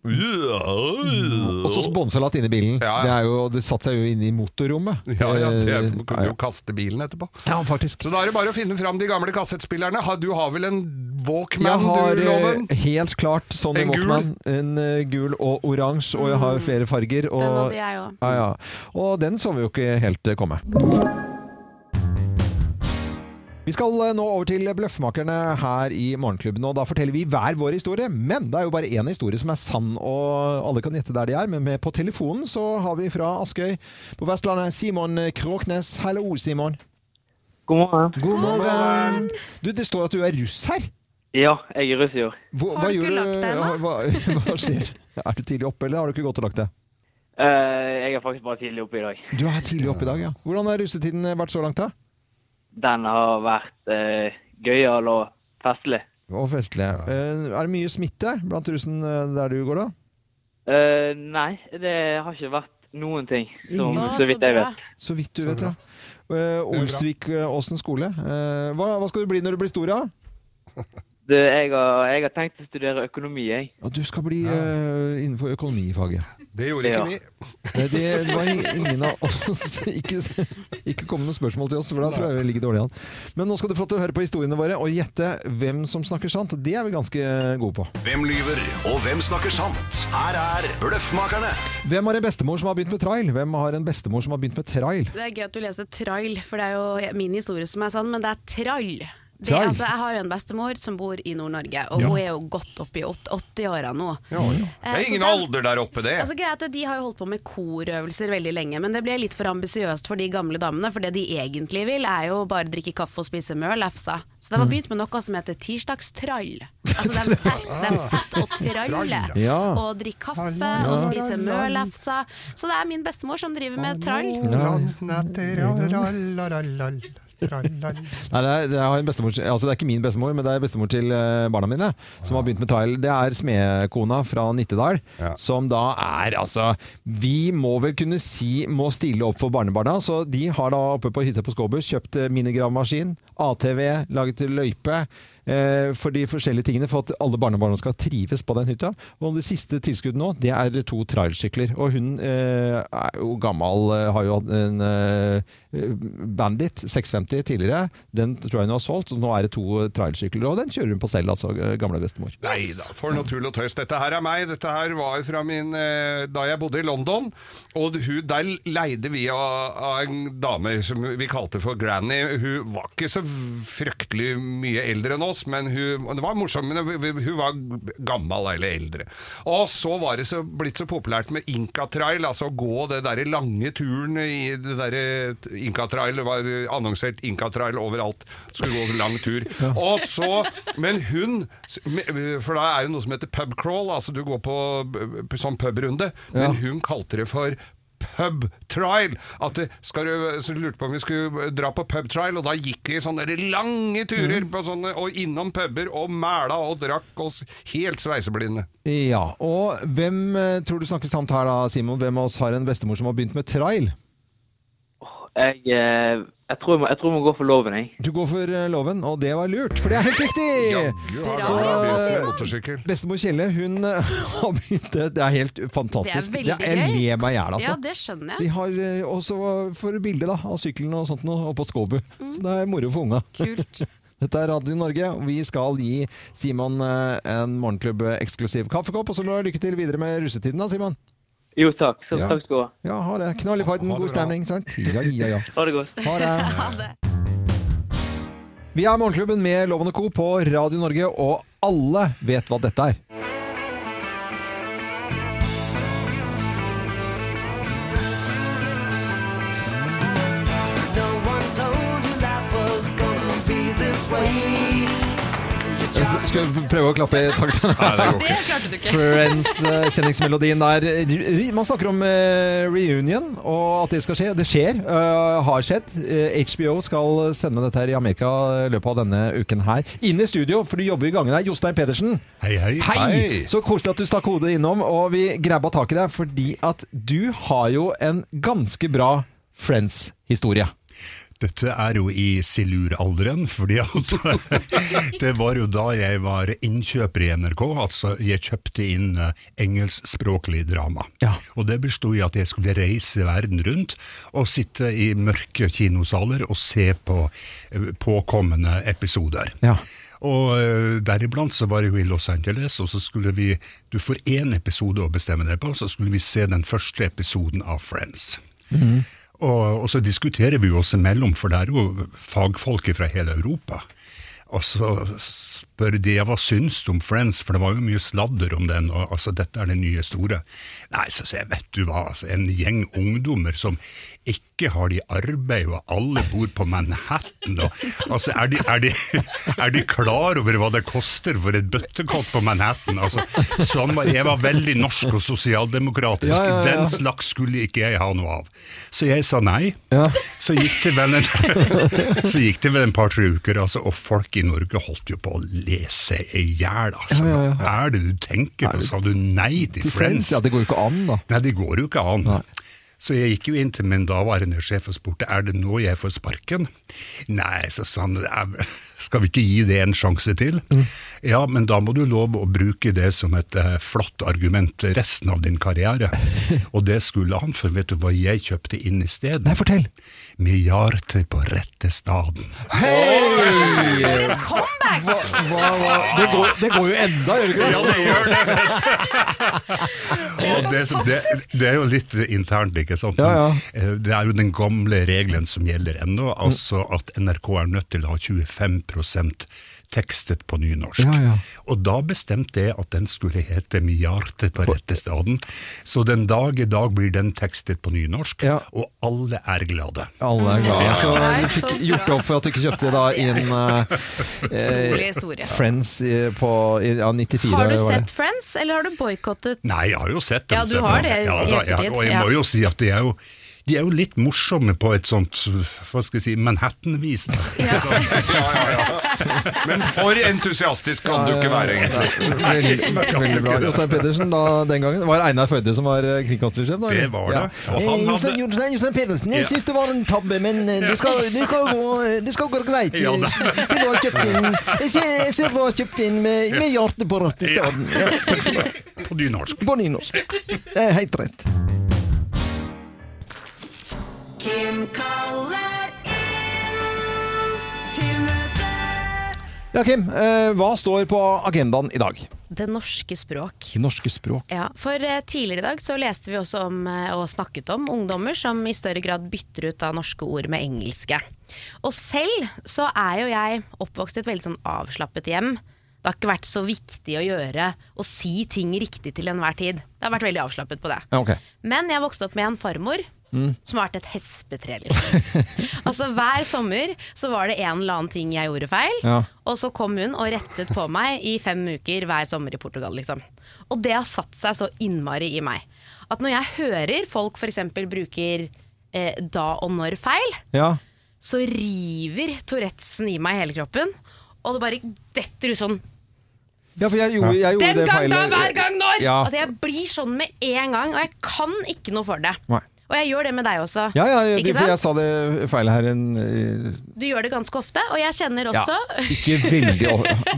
[SPEAKER 1] Og så sponsalat inni bilen.
[SPEAKER 2] Ja, ja.
[SPEAKER 1] Det, er jo, det satte seg jo inn i motorrommet.
[SPEAKER 2] Ja, ja, det
[SPEAKER 1] Eh,
[SPEAKER 2] kunne
[SPEAKER 1] ja.
[SPEAKER 2] jo kaste bilen etterpå.
[SPEAKER 1] ja, faktisk.
[SPEAKER 2] Så da er det bare å finne fram de gamle kassettspillerne. Ha- Du har vel en
[SPEAKER 1] Jeg
[SPEAKER 2] Walkman,
[SPEAKER 1] har
[SPEAKER 2] du,
[SPEAKER 1] eh,
[SPEAKER 2] Loven?
[SPEAKER 1] helt klart Sony
[SPEAKER 2] En gul?
[SPEAKER 1] Walkman. En eh, gul og oransje, og jeg har flere farger. Og,
[SPEAKER 3] Mm. Den hadde jeg òg.
[SPEAKER 1] Ja, ja. Og den så vi jo ikke helt eh, komme. Vi skal eh, nå over til Bløffmakerne her i Morgenklubben, og da forteller vi hver vår historie. Men det er jo bare én historie som er sann, og alle kan gjette der de er. Men med på telefonen så har vi fra Askøy på Vestlandet Simon Kråknes. Hallo, Simon.
[SPEAKER 9] God morgen.
[SPEAKER 1] God morgen. Du, det står at du er russ her.
[SPEAKER 9] Ja, jeg er russier.
[SPEAKER 1] Hva,
[SPEAKER 3] Har du ikke lagt deg ennå?
[SPEAKER 1] Hva, hva, [laughs] hva skjer? Er du tidlig oppe, eller har du ikke gått og lagt deg?
[SPEAKER 9] Eh, jeg er faktisk bare tidlig oppe i dag.
[SPEAKER 1] Du er tidlig oppe i dag, ja. Hvordan har russetiden vært så langt, da?
[SPEAKER 9] Den har vært eh, gøyal og festlig.
[SPEAKER 1] Og festlig. Eh, Er det mye smitte blant russen eh, der du går, da?
[SPEAKER 9] Eh, nei, det har ikke vært noen ting, som,
[SPEAKER 1] Ingen.
[SPEAKER 9] så vidt jeg
[SPEAKER 3] bra.
[SPEAKER 9] vet.
[SPEAKER 1] Så vidt du vet, ja. Eh, Olsvik eh, Åsen skole. Eh, Hva, hva skal du bli når du blir stor, da?
[SPEAKER 9] Du, jeg, har, jeg har tenkt å studere økonomi, jeg.
[SPEAKER 1] Ja, du skal bli eh, innenfor økonomifaget.
[SPEAKER 2] Det gjorde ikke
[SPEAKER 9] Ja.
[SPEAKER 2] vi.
[SPEAKER 1] Det, Eh, det var ingen av oss Ikke, ikke kom med noen spørsmål til oss, for da tror jeg vi ligger dårlig an. Men nå skal du få lov til å høre på historiene våre og gjette hvem som snakker sant. Det er vi ganske gode på.
[SPEAKER 10] Hvem lyver, og hvem snakker sant? Her er Bløffmakerne.
[SPEAKER 1] Hvem har en bestemor som har begynt med trail? Hvem har en bestemor som har begynt med trail?
[SPEAKER 3] Det er gøy at du leser trail, for det er jo min historie som er sann, men det er trall. Det,
[SPEAKER 1] Trall?
[SPEAKER 3] altså, jeg har jo en bestemor som bor i Nord-Norge, og hun er jo godt oppi 80-åra nå.
[SPEAKER 2] Det er
[SPEAKER 3] Eh, så
[SPEAKER 2] ingen
[SPEAKER 3] den-
[SPEAKER 2] alder der oppe, det.
[SPEAKER 3] Altså, greit, at De har jo holdt på med korøvelser veldig lenge, men det ble litt for ambisiøst for de gamle damene. For det de egentlig vil, er jo bare drikke kaffe og spise møl, lefsa. Så de har begynt med noe som heter tirsdagstrall. Altså, de setter set og traller.
[SPEAKER 1] Ja.
[SPEAKER 3] Og drikker kaffe og spiser møl, lefsa. Så det er min bestemor som driver med trall.
[SPEAKER 1] Nei, det er, det, er en bestemor, altså det er ikke min bestemor, men det er bestemor til eh, barna mine som har begynt med trail. Det er smedkona fra Nittedal,
[SPEAKER 2] Ja.
[SPEAKER 1] som da er altså Vi må vel kunne si må stille opp for barnebarna. Så de har da oppe på hytta på Skåbu kjøpt eh, minigravemaskin, ATV, laget løype. eh, For de forskjellige tingene, for at alle barnebarna skal trives på den hytta. Og det siste tilskuddet nå, det er to trailsykler. Og hun eh, er jo gammel, eh, har jo hatt en eh, Bandit 650 tidligere. Den tror jeg hun har solgt. og Nå er det to trailsykler, og den kjører hun på selv, altså eh, gamle bestemor.
[SPEAKER 2] Nei da, for noe tull og tøys. Dette her er meg. Dette her var fra min eh, Da jeg bodde i London. Og hun, der leide vi av, av en dame som vi kalte for Granny. Hun var ikke så fryktelig mye eldre enn oss, men hun og Det var morsomt, men hun hun var gammel eller eldre. Og så var det så, blitt så populært med Inca-trail, altså å gå det derre lange turen i det derre Inca-trail. Det var annonsert Inca-trail overalt. Skulle gå en lang tur. Og så Men hun For da er jo noe som heter pub crawl, altså du går på eh, sånn pubrunde. Men hun kalte det for Pub trial! At det, skal du, så lurte på om vi skulle dra på pub trial, og da gikk vi sånne der lange turer på sånne, og innom puber og mæla og drakk oss helt sveiseblinde.
[SPEAKER 1] Ja, og hvem eh, tror du snakker sant her da, Simon? Hvem av oss har en bestemor som har begynt med trail?
[SPEAKER 9] Jeg, eh, jeg, tror jeg, må, jeg tror jeg må gå for loven, jeg.
[SPEAKER 1] Du går for eh, loven, og det var lurt, for det er helt riktig!
[SPEAKER 2] Jaggu har
[SPEAKER 1] Eh, Så-
[SPEAKER 2] du begynt med motorsykkel.
[SPEAKER 1] Bestemor Kjelle, hun eh, [laughs] har begynt Det er helt fantastisk.
[SPEAKER 3] Det er veldig
[SPEAKER 1] jeg
[SPEAKER 3] gøy.
[SPEAKER 1] ler meg i hjel, altså.
[SPEAKER 3] Ja, det skjønner jeg.
[SPEAKER 1] De har eh, også for bilde da, av sykkelen og sånt nå, oppå Skåbu.
[SPEAKER 3] Mm.
[SPEAKER 1] Så det er moro for unga.
[SPEAKER 3] Kult.
[SPEAKER 1] Dette er Radio Norge, og vi skal gi Simon eh, en morgenklubb-eksklusiv kaffekopp. Og så må du ha lykke til videre med russetiden, da, Simon.
[SPEAKER 9] Jo takk. Så,
[SPEAKER 1] Ja.
[SPEAKER 9] Takk skal du ha.
[SPEAKER 1] Ja, ha det. Knall i parten,
[SPEAKER 2] Ha det
[SPEAKER 1] god
[SPEAKER 2] bra.
[SPEAKER 1] stemning. Sant? Ja, ja, ja.
[SPEAKER 9] Ha det godt.
[SPEAKER 1] [laughs] Ha det. Vi er Morgenklubben med Loven og Co. på Radio Norge, og alle vet hva dette er. jeg skal prøve å klappe i
[SPEAKER 11] Nei,
[SPEAKER 1] takten.
[SPEAKER 11] det går
[SPEAKER 3] Det
[SPEAKER 11] ikke.
[SPEAKER 3] klarte du ikke.
[SPEAKER 1] Friends, eh, kjenningsmelodien der. Re- Man snakker om eh, reunion og at det skal skje. Det skjer, eh, har skjedd. Eh, HBO skal sende dette her i Amerika i løpet av denne uken her. Inn i studio, for du jobber i gangen her. Jostein Pedersen.
[SPEAKER 11] Hei, hei.
[SPEAKER 1] Hei! Så koselig at du stakk hodet innom, og vi grabba tak i deg fordi at du har jo en ganske bra Friends-historie.
[SPEAKER 11] Dette er jo i siluralderen, fordi at [laughs] det var jo da jeg var innkjøper i NRK, altså jeg kjøpte inn eh, engelskspråklig drama.
[SPEAKER 1] Ja.
[SPEAKER 11] Og det bestod i at jeg skulle reise verden rundt og sitte i mørke kinosaler og se på eh, påkommende episoder.
[SPEAKER 1] Ja.
[SPEAKER 11] Og eh, deriblant så var jeg jo i Los Angeles, og så skulle vi, du får én episode å bestemme deg på, så skulle vi se den første episoden av Friends. Og, og så diskuterer vi jo oss imellom, for det er jo fagfolk fra hele Europa. Og så spør de ja, hva syns du om Friends, for det var jo mye sladder om den. og altså, Dette er det nye store. Nei, så sier jeg, vet du hva, altså, en gjeng ungdommer som ikke har de arbeid, og alle bor på Manhattan. Og, altså, er de, er, de, er de klar over hva det koster for et bøttekott på Manhattan? Altså, sånn var, jeg var veldig norsk og sosialdemokratisk.
[SPEAKER 1] Ja, ja, ja.
[SPEAKER 11] Den slags skulle ikke jeg ha noe av. Så jeg sa nei.
[SPEAKER 1] Ja.
[SPEAKER 11] Så gikk det vel en, så gikk det vel en [laughs] par-tre uker, altså, og folk i Norge holdt jo på å lese i hjel. Altså. Hva er det du tenker på? Sa du nei til,
[SPEAKER 1] Til Friends? Ja, det går jo ikke an, da.
[SPEAKER 11] Nei, det går jo ikke an. Så jeg gikk jo inn til min daværende sjef og spurte er det nå jeg får sparken. Nei, så sa han "Nei, skal vi ikke gi det en sjanse til? Ja, men da må du love å bruke det som et eh, flott argument resten av din karriere. og det skulle han, for vet du hva jeg kjøpte inn isteden?
[SPEAKER 1] Nei, fortell!
[SPEAKER 11] Milliarder på rette staden.
[SPEAKER 1] Hei! Hva,
[SPEAKER 3] Comeback!
[SPEAKER 1] hva, hva? Det, går, det går jo enda, gjør det ikke det?
[SPEAKER 11] gjør det, Og Eh, det, som- det, det er jo litt internt, ikke sant?
[SPEAKER 1] Ja, ja.
[SPEAKER 11] Eh, Det er jo den gamle regelen som gjelder ennå, altså at NRK er nødt til å ha 25 tekstet på nynorsk.
[SPEAKER 1] Ja, ja.
[SPEAKER 11] Og da bestemte jeg at den skulle hete Milliarder på rette staden. Så den dag i dag blir den tekstet på nynorsk,
[SPEAKER 1] Ja.
[SPEAKER 11] og alle er glade.
[SPEAKER 1] Alle er glade. Så
[SPEAKER 3] Nei,
[SPEAKER 1] du
[SPEAKER 3] så
[SPEAKER 1] fikk
[SPEAKER 3] bra.
[SPEAKER 1] gjort opp for at du ikke kjøpte da inn
[SPEAKER 3] Utrolig
[SPEAKER 1] eh,
[SPEAKER 3] historie.
[SPEAKER 1] Friends i- på i- ja, 94.
[SPEAKER 3] Har du
[SPEAKER 1] var det.
[SPEAKER 3] sett Friends, eller har du
[SPEAKER 1] [laughs]
[SPEAKER 3] boikottet
[SPEAKER 11] Nei, jeg har jo sett
[SPEAKER 3] Ja,
[SPEAKER 11] dem.
[SPEAKER 3] du
[SPEAKER 11] selvfølgelig.
[SPEAKER 3] har det i
[SPEAKER 11] Ja, da, jeg-
[SPEAKER 3] ettertid,
[SPEAKER 11] Og jeg
[SPEAKER 3] ja.
[SPEAKER 11] må jo si at de er jo, de er jo litt morsomme på et sånt hva skal jeg si, Manhattan-vis.
[SPEAKER 3] [laughs]
[SPEAKER 11] da.
[SPEAKER 2] Men for entusiastisk kan du ikke være, egentlig.
[SPEAKER 1] Veldig, veldig bra. Jostein Pedersen da, den gangen var det Einar Førde som var eh, kringkastersjef. da, eller?
[SPEAKER 11] Det var det.
[SPEAKER 1] Ja.
[SPEAKER 11] Og
[SPEAKER 1] Eh,
[SPEAKER 11] han hadde-
[SPEAKER 1] Jostein- Jostein Jostein Pedersen, jeg
[SPEAKER 11] Ja.
[SPEAKER 1] syns det var en tabbe, men eh, det skal, det skal, gå, det skal gå greit.
[SPEAKER 11] Ja, det-
[SPEAKER 1] Jeg ser du har kjøpt inn, jeg ser, jeg ser du har kjøpt inn med, med hjertet på rett i stedet. Ja.
[SPEAKER 11] På nynorsk.
[SPEAKER 1] På nynorsk. Det er helt rett.
[SPEAKER 4] Kim kaller inn til møte.
[SPEAKER 1] Ja, Kim, eh, hva står på agendaen i dag?
[SPEAKER 3] det norske språk?
[SPEAKER 1] Norske språk.
[SPEAKER 3] Ja, for eh, Tidligere i dag så leste vi også om eh, og snakket om ungdommer som i større grad bytter ut av norske ord med engelske. Og selv så er jo jeg oppvokst i et veldig sånn avslappet hjem. Det har ikke vært så viktig å gjøre å si ting riktig til enhver tid. Det har vært veldig avslappet på det.
[SPEAKER 1] Ja, ok.
[SPEAKER 3] Men jeg vokste opp med en farmor som har vært et hespetre.
[SPEAKER 1] [laughs]
[SPEAKER 3] Liksom. altså Hver sommer så var det en eller annen ting jeg gjorde feil,
[SPEAKER 1] Ja.
[SPEAKER 3] og så kom hun og rettet på meg i fem uker hver sommer i Portugal. Liksom. Og det har satt seg så innmari i meg at når jeg hører folk f.eks. bruker eh, da og når feil,
[SPEAKER 1] Ja.
[SPEAKER 3] så river Tourettesen i meg i hele kroppen, og det bare detter ut sånn
[SPEAKER 1] ja, for jeg gjorde, jeg gjorde
[SPEAKER 3] den
[SPEAKER 1] Oh, det
[SPEAKER 3] gang
[SPEAKER 1] feilet.
[SPEAKER 3] da, hver gang når!
[SPEAKER 1] Ja.
[SPEAKER 3] Altså, jeg blir sånn med en gang, og jeg kan ikke noe for det.
[SPEAKER 1] Nei.
[SPEAKER 3] Og jeg gjør det med deg også.
[SPEAKER 1] Ja, ja, ja,
[SPEAKER 3] ikke
[SPEAKER 1] for jeg
[SPEAKER 3] sant?
[SPEAKER 1] sa det feilet her en eh,
[SPEAKER 3] Du gjør det ganske ofte, og jeg kjenner
[SPEAKER 1] ja,
[SPEAKER 3] også
[SPEAKER 1] Ikke veldig o-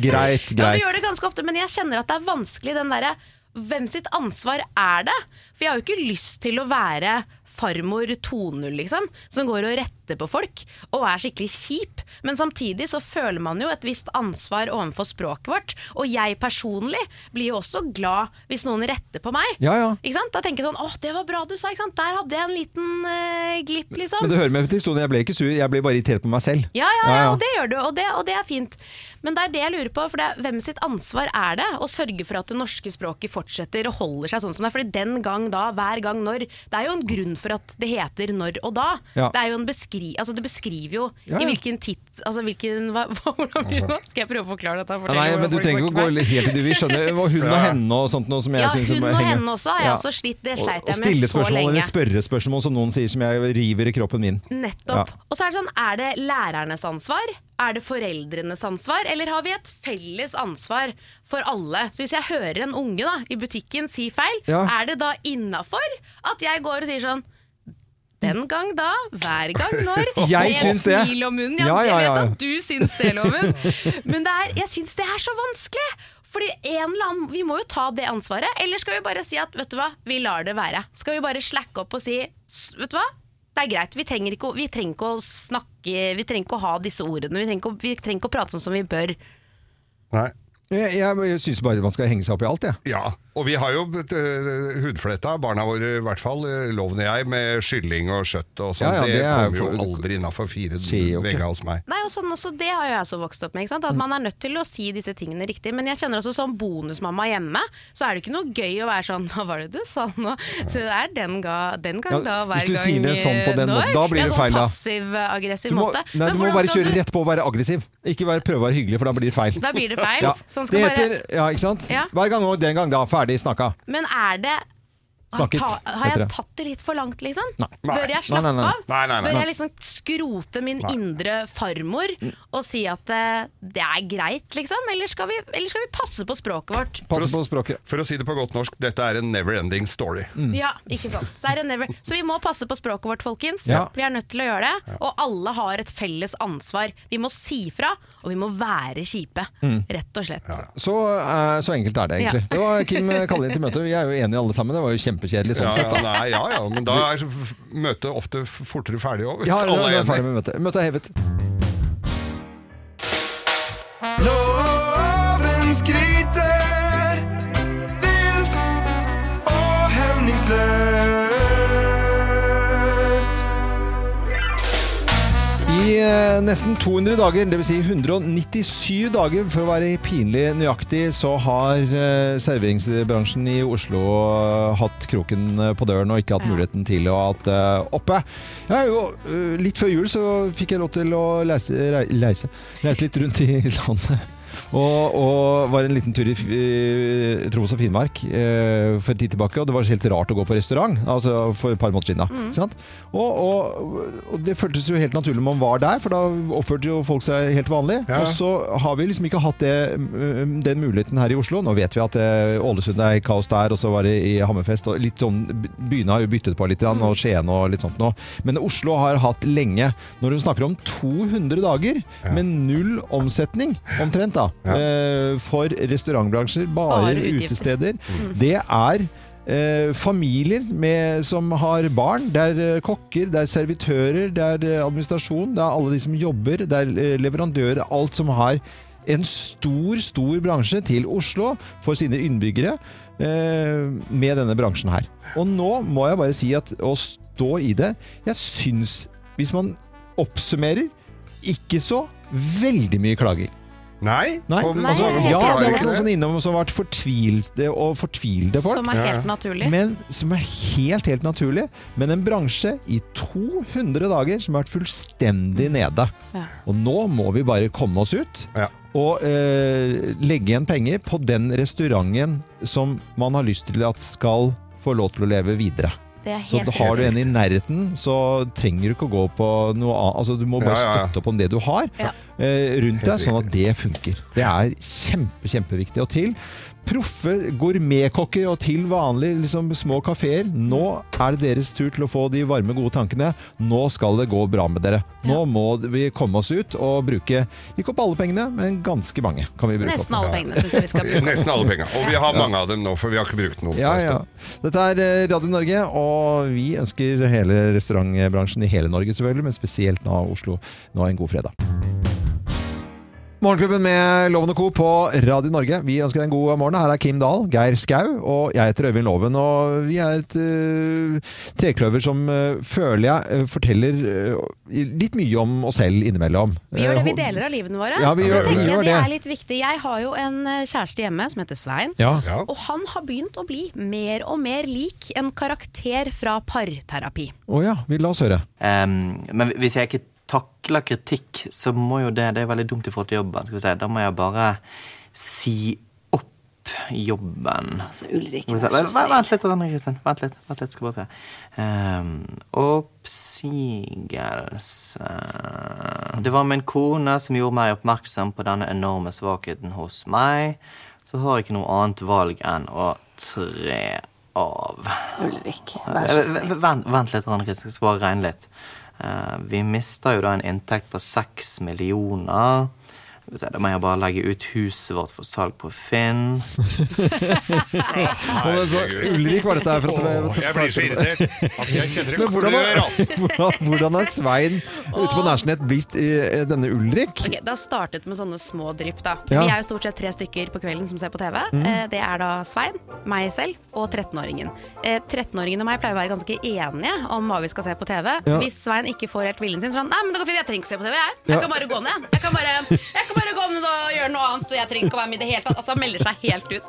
[SPEAKER 3] [laughs] Ja,
[SPEAKER 1] Greit,
[SPEAKER 3] du
[SPEAKER 1] greit.
[SPEAKER 3] gjør det ganske ofte, men jeg kjenner at det er vanskelig den derre Hvem sitt ansvar er det? For jeg har jo ikke lyst til å være farmor 2.0, liksom, som går og retter på folk og er skikkelig kjip. Men samtidig så føler man jo et visst ansvar overfor språket vårt. Og jeg personlig blir jo også glad hvis noen retter på meg.
[SPEAKER 1] Ja, ja.
[SPEAKER 3] Ikke sant? Da tenker jeg sånn åh, det var bra du sa, ikke sant? Der hadde jeg en liten eh, glipp, liksom.
[SPEAKER 1] Men det hører med til historien, jeg ble ikke sur, jeg ble bare irritert på meg selv.
[SPEAKER 3] Ja, ja, ja,
[SPEAKER 1] Ja, ja.
[SPEAKER 3] og det gjør du, og det, og det er fint. Men det er det jeg lurer på, for det er, hvem sitt ansvar er det å sørge for at det norske språket fortsetter og holder seg sånn som det er? Fordi den gang da, hver gang når, det er jo en grunn for at det heter når og da.
[SPEAKER 1] Ja.
[SPEAKER 3] Det er jo en beskri, altså det beskriver jo
[SPEAKER 1] Ja, ja.
[SPEAKER 3] i hvilken titt altså hvilken, hva, [laughs] hva, Hvordan blir det nå? Skal jeg prøve å forklare dette?
[SPEAKER 1] Ja, nei, men du trenger ikke å gå litt helt i det. Vi skjønner hva hun og henne og sånt noe som jeg
[SPEAKER 3] Ja,
[SPEAKER 1] synes
[SPEAKER 3] hun
[SPEAKER 1] bare
[SPEAKER 3] og
[SPEAKER 1] henger-
[SPEAKER 3] henne også har jeg også slitt. Det
[SPEAKER 1] Og-
[SPEAKER 3] sleit
[SPEAKER 1] og
[SPEAKER 3] jeg med
[SPEAKER 1] stille
[SPEAKER 3] så
[SPEAKER 1] spørsmål
[SPEAKER 3] lenge. Mm.
[SPEAKER 1] eller spørre spørsmål, som noen sier, som jeg river i kroppen min.
[SPEAKER 3] Nettopp. Og så er det sånn, er det lærernes ansvar? Er det foreldrenes ansvar? Eller har vi et felles ansvar for alle? Så hvis jeg hører en unge da, i butikken si feil,
[SPEAKER 1] Ja.
[SPEAKER 3] er det da innafor at jeg går og sier sånn den gang da, hver gang når.
[SPEAKER 1] [laughs] Jeg
[SPEAKER 3] med et
[SPEAKER 1] syns det.
[SPEAKER 3] Smil om munnen. Ja,
[SPEAKER 1] Ja, ja, ja,
[SPEAKER 3] Jeg
[SPEAKER 1] ja.
[SPEAKER 3] vet at du syns det, Loven. Men det er, jeg syns det er så vanskelig. Fordi en eller annen, Vi må jo ta det ansvaret. Eller skal vi bare si at vet du hva, vi lar det være. Skal vi bare slacke opp og si "S- vet du hva, det er greit. Vi trenger ikke, å- vi trenger ikke å snakke Vi trenger ikke å ha disse ordene. Vi trenger ikke, å- vi trenger ikke å prate sånn som vi bør.
[SPEAKER 2] Nei.
[SPEAKER 1] Jeg, jeg, jeg syns bare man skal henge seg opp i alt, jeg.
[SPEAKER 2] Ja, og vi har jo eh, hudfletta, barna våre i hvert fall, eh, loven og jeg, med kylling og kjøtt og sånn.
[SPEAKER 1] Ja, ja,
[SPEAKER 2] det,
[SPEAKER 1] det er
[SPEAKER 2] kommer
[SPEAKER 1] for-
[SPEAKER 2] jo aldri innafor fire
[SPEAKER 1] Sier jo ikke.
[SPEAKER 2] vegger hos meg.
[SPEAKER 3] Nei, og sånn også, Det har jo jeg også vokst opp med. ikke sant? At Man er nødt til å si disse tingene riktig. Men jeg kjenner også som bonusmamma hjemme, så er det ikke noe gøy å være sånn [laughs] Hva var det du sa nå? Så det er den, ga, den gang
[SPEAKER 1] Ja,
[SPEAKER 3] da, hver gang
[SPEAKER 1] hvis du sier det sånn på den
[SPEAKER 3] når.
[SPEAKER 1] måten, da blir
[SPEAKER 3] Ja,
[SPEAKER 1] det
[SPEAKER 3] sånn
[SPEAKER 1] feil, da.
[SPEAKER 3] Passiv-aggressiv
[SPEAKER 1] Du må,
[SPEAKER 3] måte.
[SPEAKER 1] nei,
[SPEAKER 3] Men
[SPEAKER 1] du må
[SPEAKER 3] hvordan
[SPEAKER 1] bare
[SPEAKER 3] skal
[SPEAKER 1] kjøre
[SPEAKER 3] du-
[SPEAKER 1] rett på å være aggressiv. Ikke bare prøve å være hyggelig, for da blir det feil.
[SPEAKER 3] Da blir det feil.
[SPEAKER 1] Ja.
[SPEAKER 3] Sånn skal
[SPEAKER 1] det
[SPEAKER 3] bare-
[SPEAKER 1] heter, ja, ikke sant?
[SPEAKER 3] Ja.
[SPEAKER 1] Hver gang og den gang, da. Ferdig snakka.
[SPEAKER 3] Men er det har,
[SPEAKER 1] Snakket,
[SPEAKER 3] ta, har
[SPEAKER 1] heter
[SPEAKER 3] jeg
[SPEAKER 1] det.
[SPEAKER 3] tatt det litt for langt, liksom?
[SPEAKER 1] Nei.
[SPEAKER 3] Bør jeg
[SPEAKER 1] Nei,
[SPEAKER 3] slappe
[SPEAKER 1] nei, nei.
[SPEAKER 3] av?
[SPEAKER 2] Nei, nei, nei.
[SPEAKER 3] Bør jeg liksom skrote min indre farmor
[SPEAKER 1] Mm.
[SPEAKER 3] og si at eh, det er greit, liksom? Eller skal vi, eller skal vi passe på språket vårt?
[SPEAKER 1] Pass på språket.
[SPEAKER 2] For å si det på godt norsk, dette er en never ending story.
[SPEAKER 1] Mm,
[SPEAKER 3] Ja, ikke sant. Det er en never. Så vi må passe på språket vårt, folkens.
[SPEAKER 1] Ja.
[SPEAKER 3] Vi er nødt til å gjøre det. Og alle har et felles ansvar. Vi må si fra, og vi må være kjipe.
[SPEAKER 1] Mm.
[SPEAKER 3] Rett og slett.
[SPEAKER 1] Så, eh, så enkelt er det, egentlig.
[SPEAKER 3] Ja.
[SPEAKER 1] Det var Kim eh, kaller inn til møte. Vi er jo enige alle sammen. Det var jo kjempekjedelig sånn
[SPEAKER 2] Ja,
[SPEAKER 1] sett.
[SPEAKER 2] ja, nei, ja, ja, men da er f- møtet ofte f- fortere ferdig òg.
[SPEAKER 1] Ja, da er vi ferdig med møtet. Møtet er hevet.
[SPEAKER 10] Loven skryter vilt og hemningsløst.
[SPEAKER 1] I eh, nesten 200 dager, dvs. Si 197 dager for å være pinlig nøyaktig, så har eh, serveringsbransjen i Oslo eh, hatt kroken eh, på døren og ikke hatt muligheten til å ha det oppe. Jeg er jo, eh, litt før jul så fikk jeg lov til å leise, rei- leise, reise litt rundt i [laughs] landet. Og, og var en liten tur i eh, Troms og Finnmark eh, for en tid tilbake. Og det var helt rart å gå på restaurant altså for et par måneder siden. da, ikke sant? Og, og, og det føltes jo helt naturlig når man var der, for da oppførte jo folk seg helt vanlig.
[SPEAKER 2] Ja.
[SPEAKER 1] Og så har vi liksom ikke hatt det, mm, den muligheten her i Oslo. Nå vet vi at eh, Ålesund er kaos der, og så var det i Hammerfest. Og litt sånn, byene har jo byttet på litt, grann, og Skien og litt sånt nå. Men Oslo har hatt lenge. Når hun snakker om 200 dager med null omsetning, omtrent, da, eh, for restaurantbransjer, barer,
[SPEAKER 3] Bare utgifter.
[SPEAKER 1] utesteder, det er Eh, familier med, som har barn, det er eh, kokker, det er servitører, det er eh, administrasjon, det er alle de som jobber, det er eh, leverandører, alt som har en stor, stor bransje til Oslo for sine innbyggere eh, med denne bransjen her. Og nå må jeg bare si at å stå i det, jeg syns, hvis man oppsummerer, ikke så veldig mye klager.
[SPEAKER 2] Nei?
[SPEAKER 1] Nei,
[SPEAKER 2] Og-
[SPEAKER 1] altså,
[SPEAKER 2] og så-
[SPEAKER 1] ja, det har
[SPEAKER 2] ikke
[SPEAKER 1] vært noen sånne innom som har vært fortvilte og fortvilte folk.
[SPEAKER 3] Som er helt naturlig.
[SPEAKER 1] Men som er helt, helt naturlig. Men en bransje i 200 dager som har vært fullstendig nede.
[SPEAKER 3] Ja.
[SPEAKER 1] Og nå må vi bare komme oss ut.
[SPEAKER 2] Ja.
[SPEAKER 1] Og eh, legge igjen penger på den restauranten som man har lyst til at skal få lov til å leve videre.
[SPEAKER 3] Det er
[SPEAKER 1] Så
[SPEAKER 3] helt
[SPEAKER 1] har du en i nærheten, så trenger du ikke å gå på noe annet. Altså, du må bare
[SPEAKER 2] Ja, ja, ja.
[SPEAKER 1] støtte opp om det du har
[SPEAKER 3] Ja.
[SPEAKER 1] eh, rundt deg, sånn at det funker. Det er kjempe, kjempeviktig. Og til proffe gourmetkokker og til vanlige liksom, små kafeer, nå er det deres tur til å få de varme, gode tankene. Nå skal det gå bra med dere. Nå må vi komme oss ut og bruke ikke opp alle pengene, men ganske mange kan vi bruke opp.
[SPEAKER 3] Nesten alle pengene syns jeg vi skal bruke.
[SPEAKER 2] Nesten alle penga. Og vi har mange av dem nå, for vi har ikke brukt noen.
[SPEAKER 1] Ja, ja. Dette er eh, Radio Norge, og vi ønsker hele restaurantbransjen i hele Norge selvfølgelig, men spesielt nå Oslo, nå en god fredag. Morgenklubben med Loven og Co. på Radio Norge. Vi ønsker deg en god morgen. Her er Kim Dahl, Geir Skau og jeg heter Øyvind Loven. Og vi er et eh, trekløver som eh, føler jeg eh, forteller eh, litt mye om oss selv innimellom.
[SPEAKER 3] Vi gjør det vi
[SPEAKER 1] Eh,
[SPEAKER 3] deler av livene våre.
[SPEAKER 1] Ja, vi
[SPEAKER 3] og
[SPEAKER 1] gjør-
[SPEAKER 3] det
[SPEAKER 1] vi
[SPEAKER 3] tenker jeg det
[SPEAKER 1] gjør det.
[SPEAKER 3] er litt viktig. Jeg har jo en eh, kjæreste hjemme som heter Svein.
[SPEAKER 1] Ja. Ja.
[SPEAKER 3] Og han har begynt å bli mer og mer lik en karakter fra parterapi.
[SPEAKER 1] Å ja, vi la oss høre.
[SPEAKER 12] Ehm, men hvis jeg ikke takler kritikk, så må jo det Det er veldig dumt i forhold til jobben. Skal vi si. Da må jeg bare si opp jobben. Altså,
[SPEAKER 9] Ulrik,
[SPEAKER 12] vent,
[SPEAKER 9] vær så
[SPEAKER 12] vent, vent litt, Anne Kristin. Vent litt. vent litt, skal bare se. Ehm, oppsigelse Det var min kone som gjorde meg oppmerksom på denne enorme svakheten hos meg. Så har jeg ikke noe annet valg enn å tre av.
[SPEAKER 9] Ulrik, vær så
[SPEAKER 12] Eh,
[SPEAKER 9] snill.
[SPEAKER 12] v- Vent, vent litt, Anne Kristin. Jeg skal bare regne litt. Eh, vi mister jo da en inntekt på seks millioner. Skal vi se, Da må jeg bare legge ut huset vårt for salg på Finn.
[SPEAKER 1] Og så, Ulrik var dette her for at
[SPEAKER 12] Åh, jeg blir så irritert. Altså, jeg kjenner det
[SPEAKER 1] Men hvordan er, [laughs]
[SPEAKER 12] klør, ass.
[SPEAKER 1] hvordan, hvordan er Svein ute på Nærsnett blitt eh, denne Ulrik?
[SPEAKER 3] Ok, da startet med sånne små drypp, da.
[SPEAKER 1] Ja.
[SPEAKER 3] Vi er jo stort sett tre stykker på kvelden som ser på TV.
[SPEAKER 1] Mm.
[SPEAKER 3] Eh, Det er da Svein, meg selv og 13-åringen. Eh, 13-åringen og meg pleier å være ganske enige om hva vi skal se på TV.
[SPEAKER 1] Ja.
[SPEAKER 3] Hvis Svein ikke får helt viljen sin, så er han Nei, men det går fint, jeg trenger ikke å se på TV, jeg. Jeg
[SPEAKER 1] Ja.
[SPEAKER 3] kan bare gå ned. Jeg kan bare, jeg kan bare gå ned og gjøre noe annet, og jeg trenger ikke å være med i det hele tatt. Altså, han melder seg helt ut.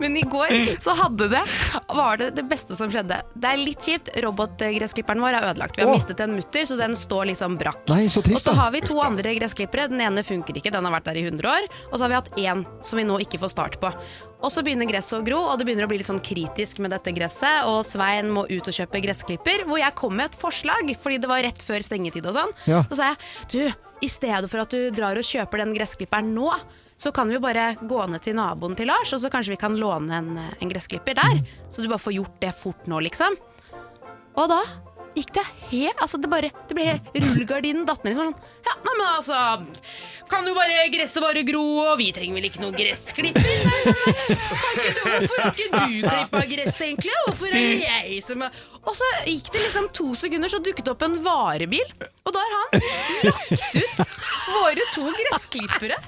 [SPEAKER 3] Men i går så hadde det Var det det beste som skjedde. Det er litt kjipt. Robotgressklipperen vår er ødelagt. Vi har
[SPEAKER 1] Åh.
[SPEAKER 3] mistet en mutter, så den står liksom brakk.
[SPEAKER 1] Nei, så trist,
[SPEAKER 3] Og så
[SPEAKER 1] da.
[SPEAKER 3] har vi to andre gressklippere. Den ene funker ikke, den har vært der i 100 år. Og så har vi hatt én som vi nå ikke får start på. Og så begynner gresset å gro, og det begynner å bli litt sånn kritisk med dette gresset. Og Svein må ut og kjøpe gressklipper, hvor jeg kom med et forslag, fordi det var rett før stengetid og sånn.
[SPEAKER 4] Ja.
[SPEAKER 3] Så sa jeg du, i stedet for at du drar og kjøper den gressklipperen nå, så kan vi jo bare gå ned til naboen til Lars, og så kanskje vi kan låne en, en gressklipper der. Så du bare får gjort det fort nå, liksom. Og da gikk det helt Altså, det bare Det ble helt- Rullegardinen datt ned liksom. Sånn. Ja, nei, men altså Kan jo bare gresset bare gro, og vi trenger vel ikke noe gressklipper? Nei, nei, nei. Kan ikke du, hvorfor har ikke du klippa gress, egentlig? Hvorfor er det jeg som er Og så gikk det liksom to sekunder, så dukket det opp en varebil, og da har han lagt ut våre to gressklippere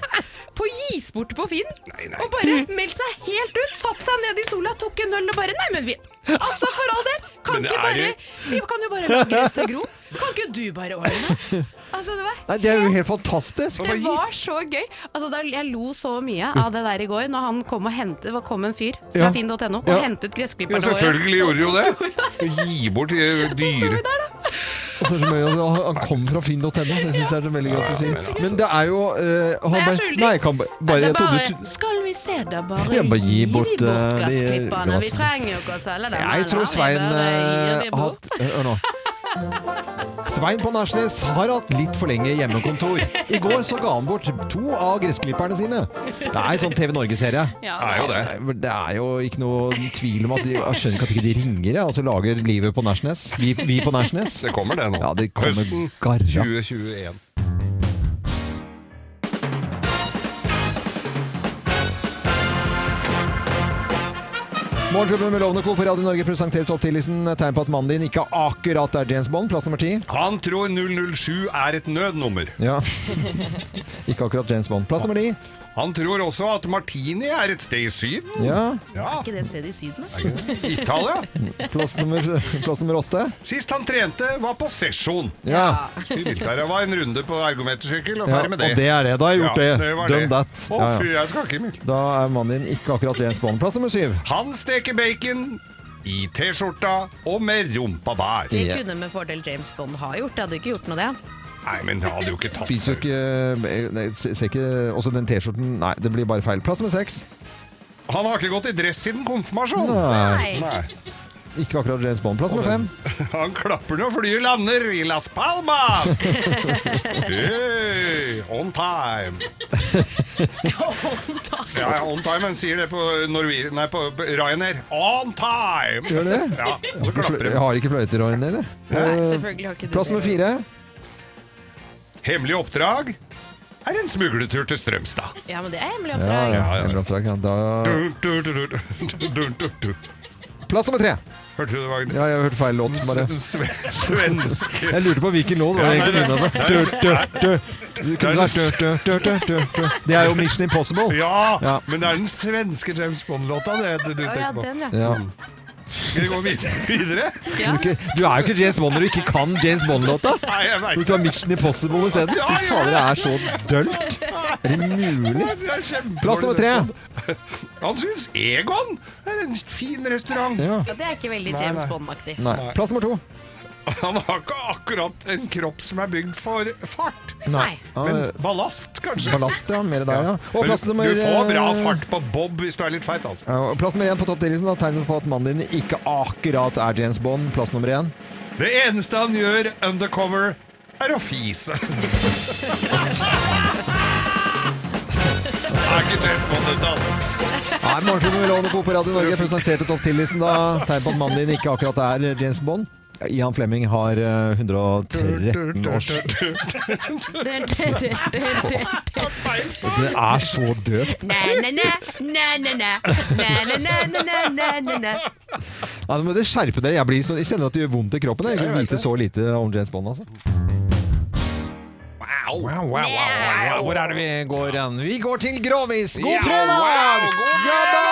[SPEAKER 3] på gisbordet på Finn. Og bare meldt seg helt ut. Satt seg ned i sola, tok en øl og bare Nei, men vi Altså, for all del! Kan
[SPEAKER 1] Men det
[SPEAKER 3] ikke
[SPEAKER 1] er
[SPEAKER 3] bare
[SPEAKER 1] jo-
[SPEAKER 3] Vi kan jo bare la gresset gro. Kan ikke du bare ordne det? Altså, det var
[SPEAKER 1] Nei, det er jo helt fantastisk!
[SPEAKER 3] det var så gøy! Altså, da, jeg lo så mye av det der i går, når han kom og hentet Det var- kom en fyr fra
[SPEAKER 2] Ja.
[SPEAKER 3] finn.no og
[SPEAKER 2] Ja.
[SPEAKER 3] hentet
[SPEAKER 2] Ja,
[SPEAKER 3] gressklipperne
[SPEAKER 2] selvfølgelig gjorde jo
[SPEAKER 3] Og så sto
[SPEAKER 2] det. Gi bort eh, dyre
[SPEAKER 1] Og så er det så mye, og Altså, han kom fra finn.no, det syns jeg er så veldig godt å si. Men altså- det er jo eh, han
[SPEAKER 3] Nei, jeg er
[SPEAKER 1] bare-
[SPEAKER 3] skyldig.
[SPEAKER 1] Nei, jeg kan bare, bare
[SPEAKER 3] det
[SPEAKER 1] jeg
[SPEAKER 3] er
[SPEAKER 1] trodde
[SPEAKER 3] bare
[SPEAKER 1] du
[SPEAKER 3] Skal vi se, da bare
[SPEAKER 1] Ja, bare
[SPEAKER 3] vi
[SPEAKER 1] gi bort, eh, de
[SPEAKER 3] gressklipperne. Vi
[SPEAKER 1] glassene.
[SPEAKER 3] trenger jo ikke å selge dem.
[SPEAKER 1] Jeg
[SPEAKER 3] eller?
[SPEAKER 1] tror
[SPEAKER 3] Vi
[SPEAKER 1] Svein
[SPEAKER 3] bare
[SPEAKER 1] eh,
[SPEAKER 3] gir de
[SPEAKER 1] har
[SPEAKER 3] bort.
[SPEAKER 1] hatt Hør nå. Svein på Nærsnes har hatt litt for lenge hjemmekontor. I går så ga han bort to av gressklipperne sine. Det er en sånn TV Norge-serie.
[SPEAKER 2] Ja, det er jo
[SPEAKER 1] det. Det er jo ikke noe tvil om at de Jeg skjønner ikke at ikke de ringer jeg, og så lager livet på Nærsnes. Vi, vi på Nærsnes.
[SPEAKER 2] Det kommer det nå.
[SPEAKER 1] Ja, det kommer
[SPEAKER 2] Høsten
[SPEAKER 1] garra.
[SPEAKER 2] 2021.
[SPEAKER 1] Morgenklubben med Lovende Co. på Radio Norge presenterer topp 10-listen. Tegn på at mannen din ikke akkurat er James Bond. Plass nummer ti.
[SPEAKER 2] Han tror 007 er et nødnummer.
[SPEAKER 1] Ja. [laughs] Ikke akkurat James Bond. Plass nummer ni.
[SPEAKER 2] Han tror også at martini er et sted i Syden.
[SPEAKER 1] Ja.
[SPEAKER 3] Er ikke det et sted i Syden? da?
[SPEAKER 2] Italia.
[SPEAKER 1] Plass nummer, plass nummer åtte.
[SPEAKER 2] Sist han trente, var på sesjon.
[SPEAKER 1] Ja.
[SPEAKER 2] Skulle vilt være. Det var en runde på ergometersykkel, og
[SPEAKER 1] Ja,
[SPEAKER 2] ferdig med det.
[SPEAKER 1] og det er det. Da har jeg gjort
[SPEAKER 2] Ja,
[SPEAKER 1] det.
[SPEAKER 2] var
[SPEAKER 1] Done
[SPEAKER 2] det.
[SPEAKER 1] that.
[SPEAKER 2] Å,
[SPEAKER 1] Ja, ja.
[SPEAKER 2] fy, jeg skal ikke mer.
[SPEAKER 1] Da er mannen din ikke akkurat James Bond. Plass nummer syv.
[SPEAKER 2] Han steker bacon i T-skjorta og med rumpa bær.
[SPEAKER 3] Det kunne med fordel James Bond ha gjort. Det hadde jo ikke gjort noe, det.
[SPEAKER 2] Nei, men det hadde jo ikke tatt
[SPEAKER 1] Spiser jo ikke nei, Ser ikke Også den T-skjorten Nei, det blir bare feil. Plass nummer seks.
[SPEAKER 2] Han har ikke gått i dress siden konfirmasjon.
[SPEAKER 1] Nei. Ikke akkurat James Bond. Plass nummer fem.
[SPEAKER 2] Han klapper når flyet lander i Las
[SPEAKER 1] [laughs]
[SPEAKER 2] Palmas. hey, on
[SPEAKER 1] [laughs]
[SPEAKER 2] time. Ja, ja, on time, men sier det på, Norwegian, nei, på Ryanair. On time!
[SPEAKER 1] Gjør det?
[SPEAKER 2] Ja, og så klapper de.
[SPEAKER 1] Jeg har ikke fløyter og en, eller?
[SPEAKER 2] Nei,
[SPEAKER 1] Eh,
[SPEAKER 2] selvfølgelig har ikke du
[SPEAKER 1] Plass
[SPEAKER 2] det.
[SPEAKER 1] nummer fire.
[SPEAKER 2] Hemmelig oppdrag er en smugletur til Strømstad.
[SPEAKER 3] Ja, men det er hemmelig
[SPEAKER 1] Ja,
[SPEAKER 3] oppdrag.
[SPEAKER 1] ja. Hemmelig oppdrag. Ja, da
[SPEAKER 2] Du, du, du, du, du, du, du.
[SPEAKER 1] Plass nummer tre.
[SPEAKER 2] Hørte du det, Wagner?
[SPEAKER 1] Ja, jeg hørte feil låt. Bare.
[SPEAKER 2] S- sve- svenske.
[SPEAKER 1] Jeg lurte på hvilken låt var det egentlig
[SPEAKER 2] Ja, nei,
[SPEAKER 1] innom.
[SPEAKER 2] nei.
[SPEAKER 1] Dø, dø, dø. Du kunne vært dø, dø, dø, dø, dø, dø. Det er jo Mission Impossible.
[SPEAKER 2] Ja, men det er den svenske James Bond-låta det, det du
[SPEAKER 1] Å,
[SPEAKER 2] tenker
[SPEAKER 1] ja,
[SPEAKER 2] på.
[SPEAKER 1] den, ja. Ja.
[SPEAKER 2] Mm. Skal vi gå videre? videre?
[SPEAKER 1] Du er jo ikke- Du er jo ikke James Bond når du ikke kan James Bond-låta.
[SPEAKER 2] Nei, jeg vet
[SPEAKER 1] Du tar Mission Impossible isteden. Fy fader, det er så dølt. Er det mulig?
[SPEAKER 2] Det er kjempedårlig.
[SPEAKER 1] Plass nummer tre.
[SPEAKER 2] Han syns Egon er en fin restaurant.
[SPEAKER 1] Ja.
[SPEAKER 3] Ja, det er ikke veldig
[SPEAKER 2] Nei,
[SPEAKER 3] James
[SPEAKER 2] nei.
[SPEAKER 3] Bond-aktig.
[SPEAKER 1] Nei. Plass nummer to.
[SPEAKER 2] Han har ikke akkurat en kropp som er bygd for fart.
[SPEAKER 1] Nei.
[SPEAKER 2] Men ballast, kanskje.
[SPEAKER 1] Ballast, ja. Mer der, ja. Og plass
[SPEAKER 2] Men
[SPEAKER 1] nummer
[SPEAKER 2] Du får bra
[SPEAKER 1] eh,
[SPEAKER 2] fart på bob hvis du er litt feit, altså.
[SPEAKER 1] ja, og Plass nummer én på topp 10-listen da, tegner på at mannen din ikke akkurat er James Bond. Plass nummer én.
[SPEAKER 2] Det eneste han gjør undercover, er
[SPEAKER 1] [laughs]
[SPEAKER 2] å fise. Det er ikke tett på dette, altså.
[SPEAKER 1] Nei, Morgenklubben med Lovende Co. på Radio Norge presenterte topp 10-listen da. Tegn på at mannen din ikke akkurat er James Bond. Ian Flemming har eh, 113 års Det er så døvt. Nei, nå må dere skjerpe dere. Jeg, blir så, jeg kjenner at det gjør vondt i kroppen. Jeg kan vite så lite om James Bond, altså.
[SPEAKER 2] Wow,
[SPEAKER 1] wow, wow, wow. Hvor er det vi går hen? Vi går til Grovis! God
[SPEAKER 2] Ja,
[SPEAKER 1] fredag!
[SPEAKER 2] wow, god
[SPEAKER 1] Ja da!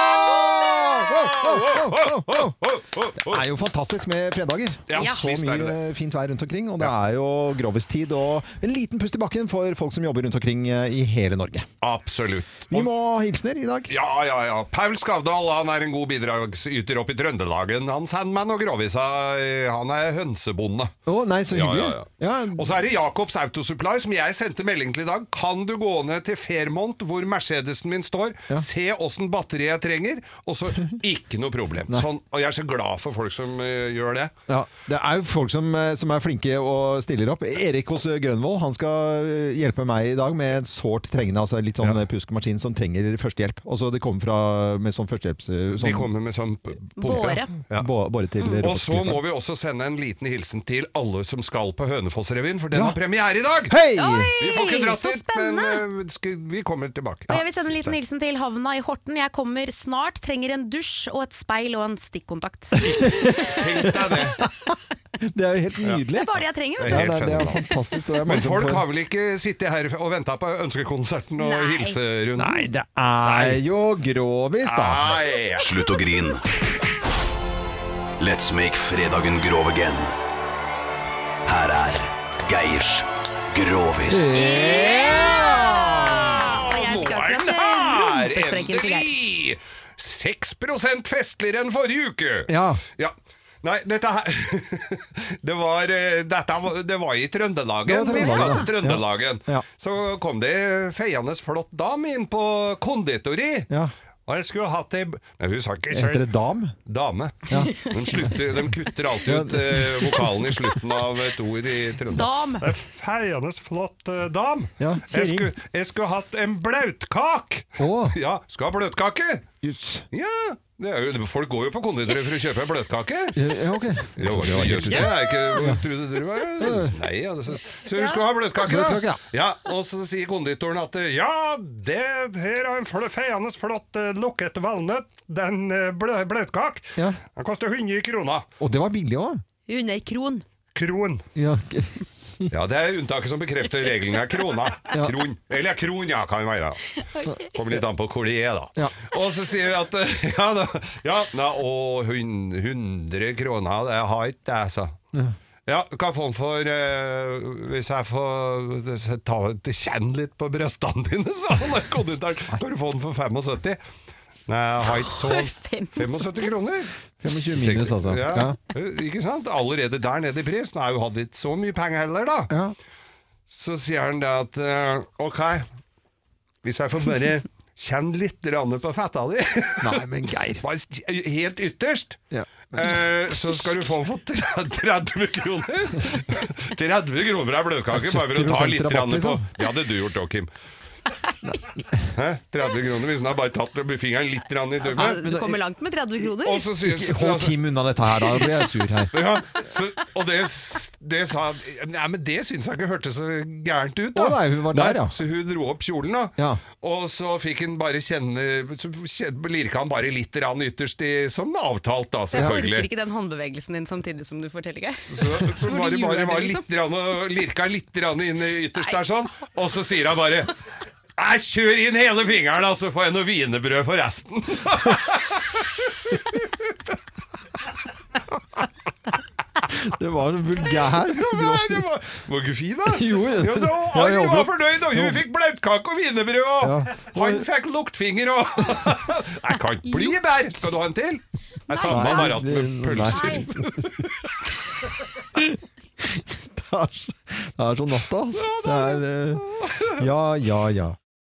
[SPEAKER 1] Det er jo fantastisk med fredager.
[SPEAKER 2] Ja,
[SPEAKER 1] Og så
[SPEAKER 2] visst er det
[SPEAKER 1] mye eh, fint vær rundt omkring. Og det er jo Grovis-tid. Og en liten pust i bakken for folk som jobber rundt omkring eh, i hele Norge.
[SPEAKER 2] Absolutt.
[SPEAKER 1] Vi må ha hilsener i dag.
[SPEAKER 2] Ja, ja, ja. Paul Skavdal han er en god bidragsyter oppe i Trøndelagen. Han Sandman og Grovisa, eh, han er hønsebonde.
[SPEAKER 1] Å, nei, så hyggelig.
[SPEAKER 2] Ja, ja, ja. Og så er det Jacobs Autosupply, som jeg sendte melding til i dag. Kan du gå ned til Fairmont, hvor Mercedesen min står, se åssen batteri jeg trenger, og så ikke noe
[SPEAKER 1] [laughs]
[SPEAKER 2] problem. Sånn, og jeg er så glad for folk som eh, gjør det.
[SPEAKER 1] Ja, det er jo folk som, eh, som er flinke og stiller opp. Erik hos eh, Grønvoll han skal eh, hjelpe meg i dag med en sårt trengende, altså litt sånn eh, puskemaskin som trenger førstehjelp. Altså det kommer fra med sånn førstehjelps... eh, Sånn,
[SPEAKER 2] De kommer med sånn p- pumpe.
[SPEAKER 1] Båre. Bå- Båre til
[SPEAKER 3] Mm.
[SPEAKER 2] Og så må
[SPEAKER 1] robotskriperen.
[SPEAKER 2] vi også sende en liten hilsen til alle som skal på Hønefoss-revyen, for den
[SPEAKER 1] Ja.
[SPEAKER 2] har premiere i dag!
[SPEAKER 1] Hei!
[SPEAKER 3] Oi,
[SPEAKER 2] Vi får ikke dratt
[SPEAKER 3] så
[SPEAKER 2] dit, men eh, sku- vi kommer tilbake.
[SPEAKER 3] Og jeg vil sende en liten hilsen til havna i Horten. Jeg kommer snart, trenger en dusj og et speil og en stikkontakt.
[SPEAKER 1] Det er jo helt nydelig.
[SPEAKER 3] Det er bare det jeg trenger,
[SPEAKER 1] Ja,
[SPEAKER 3] vet
[SPEAKER 1] Det
[SPEAKER 3] du.
[SPEAKER 1] er, det er fantastisk. så Det er
[SPEAKER 2] [laughs] Men
[SPEAKER 1] mange som
[SPEAKER 2] folk
[SPEAKER 1] får-
[SPEAKER 2] har vel ikke sittet her og venta på ønskekonserten og
[SPEAKER 1] Nei.
[SPEAKER 2] hilserunden?
[SPEAKER 1] Nei, Ah. det er jo grovis, da.
[SPEAKER 10] Slutt å grin. Let's make fredagen grov again. Her er Geirs Grovis.
[SPEAKER 3] Og jeg fikk
[SPEAKER 2] Er
[SPEAKER 3] akkurat
[SPEAKER 2] den
[SPEAKER 3] eh,
[SPEAKER 2] her,
[SPEAKER 3] rumpesprekken til Geir.
[SPEAKER 2] endelig! 6 festligere enn forrige uke!
[SPEAKER 1] Ja.
[SPEAKER 2] Nei, dette her [laughs] Det var, eh, dette, var- det var i Trøndelagen.
[SPEAKER 1] Det var
[SPEAKER 2] Vi
[SPEAKER 1] Trøndelagen,
[SPEAKER 2] skal
[SPEAKER 1] ja.
[SPEAKER 2] til Trøndelagen.
[SPEAKER 1] Ja. Ja.
[SPEAKER 2] Så kom det ei feiende flott dame inn på konditori.
[SPEAKER 1] Ja.
[SPEAKER 2] Og jeg skulle hatt ei Nei, hun sa ikke
[SPEAKER 1] Heter det dam?
[SPEAKER 2] Dame.
[SPEAKER 1] Ja.
[SPEAKER 2] De, slutter, de kutter alltid ut eh, vokalen i slutten av et ord i
[SPEAKER 5] [laughs]
[SPEAKER 2] Trøndelag.
[SPEAKER 3] Dam.
[SPEAKER 2] Det er Feiende flott eh, dam.
[SPEAKER 1] Ja,
[SPEAKER 2] jeg,
[SPEAKER 1] sier
[SPEAKER 2] skulle, jeg skulle hatt en blautkak!
[SPEAKER 1] Å.
[SPEAKER 2] Ja, skal ha bløtkake!
[SPEAKER 1] Jøss.
[SPEAKER 2] Ja, det er jo, folk går jo på konditori for å kjøpe en bløtkake.
[SPEAKER 1] Ja, ok.
[SPEAKER 2] Jo, jøss, det er ikke hva trodde du var Nei, ja, det, så, så hun skulle ha bløtkake,
[SPEAKER 1] Bløtkake, ja.
[SPEAKER 2] da. Ja, og så sier konditoren at eh, Ja, det her er en fl- feiende flott eh, lukket valnøtt. Den eh, blø, bløtkak.
[SPEAKER 1] Ja.
[SPEAKER 2] Den koster 100 kroner.
[SPEAKER 1] Og det var billig òg.
[SPEAKER 3] Under kron.
[SPEAKER 2] Kron.
[SPEAKER 1] [laughs] Ja, ok.
[SPEAKER 2] Ja, det er unntaket som bekrefter regelen er krona.
[SPEAKER 1] [laughs] Ja.
[SPEAKER 2] Kron. Eller kron, ja, kan være. Kommer litt an på hvor de er, da.
[SPEAKER 1] Ja.
[SPEAKER 2] Og så sier jeg at [laughs] eh, Ja, da, ja na, og hun- 100 kroner, det har ikke det, altså.
[SPEAKER 1] Ja.
[SPEAKER 2] Ja, hva får han for eh, Hvis jeg får ta, kjenn litt på brystene dine, [laughs] sa han. Konditoren. Kan du få den for 75? Nei, jeg har ikke så 75 kroner?
[SPEAKER 1] 25 minus, altså.
[SPEAKER 2] Ja.
[SPEAKER 1] Ja.
[SPEAKER 2] Ikke sant? Allerede der nede i pris. Nå har jeg jo hatt ikke så mye penger heller, da.
[SPEAKER 1] Ja.
[SPEAKER 2] Så sier han det at eh, Ok, hvis jeg får bare
[SPEAKER 1] [laughs]
[SPEAKER 2] kjenne litt grann på fetta di [laughs]
[SPEAKER 1] Nei, men Geir.
[SPEAKER 2] Bare Helt ytterst.
[SPEAKER 1] Ja.
[SPEAKER 2] eh, så skal du få den for 30
[SPEAKER 1] [laughs]
[SPEAKER 2] kroner. 30 kroner er bløtkake, bare for å ta
[SPEAKER 1] 70%
[SPEAKER 2] litt
[SPEAKER 1] rabatt,
[SPEAKER 2] grann på
[SPEAKER 1] liksom.
[SPEAKER 2] Det hadde du gjort òg, Kim. Hæ? 30 kroner hvis han har bare tatt med fingeren litt grann i
[SPEAKER 5] Altså,
[SPEAKER 2] tømmet.
[SPEAKER 5] du kommer langt med 30 kroner.
[SPEAKER 2] Og så sier
[SPEAKER 1] Ikke Altså, Hold Kim unna dette her, da blir jeg sur her.
[SPEAKER 2] Ja, så, og det, s- det sa Nei, men det syns jeg ikke hørtes så gærent ut, da.
[SPEAKER 1] Å, nei, hun var der, ja.
[SPEAKER 2] Så hun dro opp kjolen, da. Og så fikk han bare kjenne Så kjen- lirka han bare litt rann ytterst, i, som avtalt, da,
[SPEAKER 5] Jeg orker
[SPEAKER 2] selvfølgelig.
[SPEAKER 5] ikke den håndbevegelsen din samtidig som du forteller, Geir.
[SPEAKER 2] Så,
[SPEAKER 5] [laughs]
[SPEAKER 2] så
[SPEAKER 5] Hvor
[SPEAKER 2] bare,
[SPEAKER 5] du
[SPEAKER 2] bare
[SPEAKER 5] gjør
[SPEAKER 2] var
[SPEAKER 5] det, liksom.
[SPEAKER 2] litt rann, og lirka litt rann inn i ytterst der, sånn. Og så sier han bare Nei, kjør inn hele fingeren, da, så får jeg noe wienerbrød for resten.
[SPEAKER 1] Det var en vulgær
[SPEAKER 2] Nei, det var, var ikke fin, da.
[SPEAKER 1] [laughs] Jo, jeg-
[SPEAKER 2] jo da,
[SPEAKER 1] jeg
[SPEAKER 2] Alle
[SPEAKER 1] jobber.
[SPEAKER 2] var fornøyd, og hun
[SPEAKER 1] Jo.
[SPEAKER 2] fikk blautkake og wienerbrød, og
[SPEAKER 1] Ja.
[SPEAKER 2] han fikk luktfinger og [laughs] Jeg kan ikke bli bedre! Skal du ha en til? Jeg sa
[SPEAKER 1] Nei,
[SPEAKER 2] meg bare at med
[SPEAKER 1] det-
[SPEAKER 2] pølser
[SPEAKER 1] Det er så, det er så natta, altså. Det er eh, Ja, ja, ja.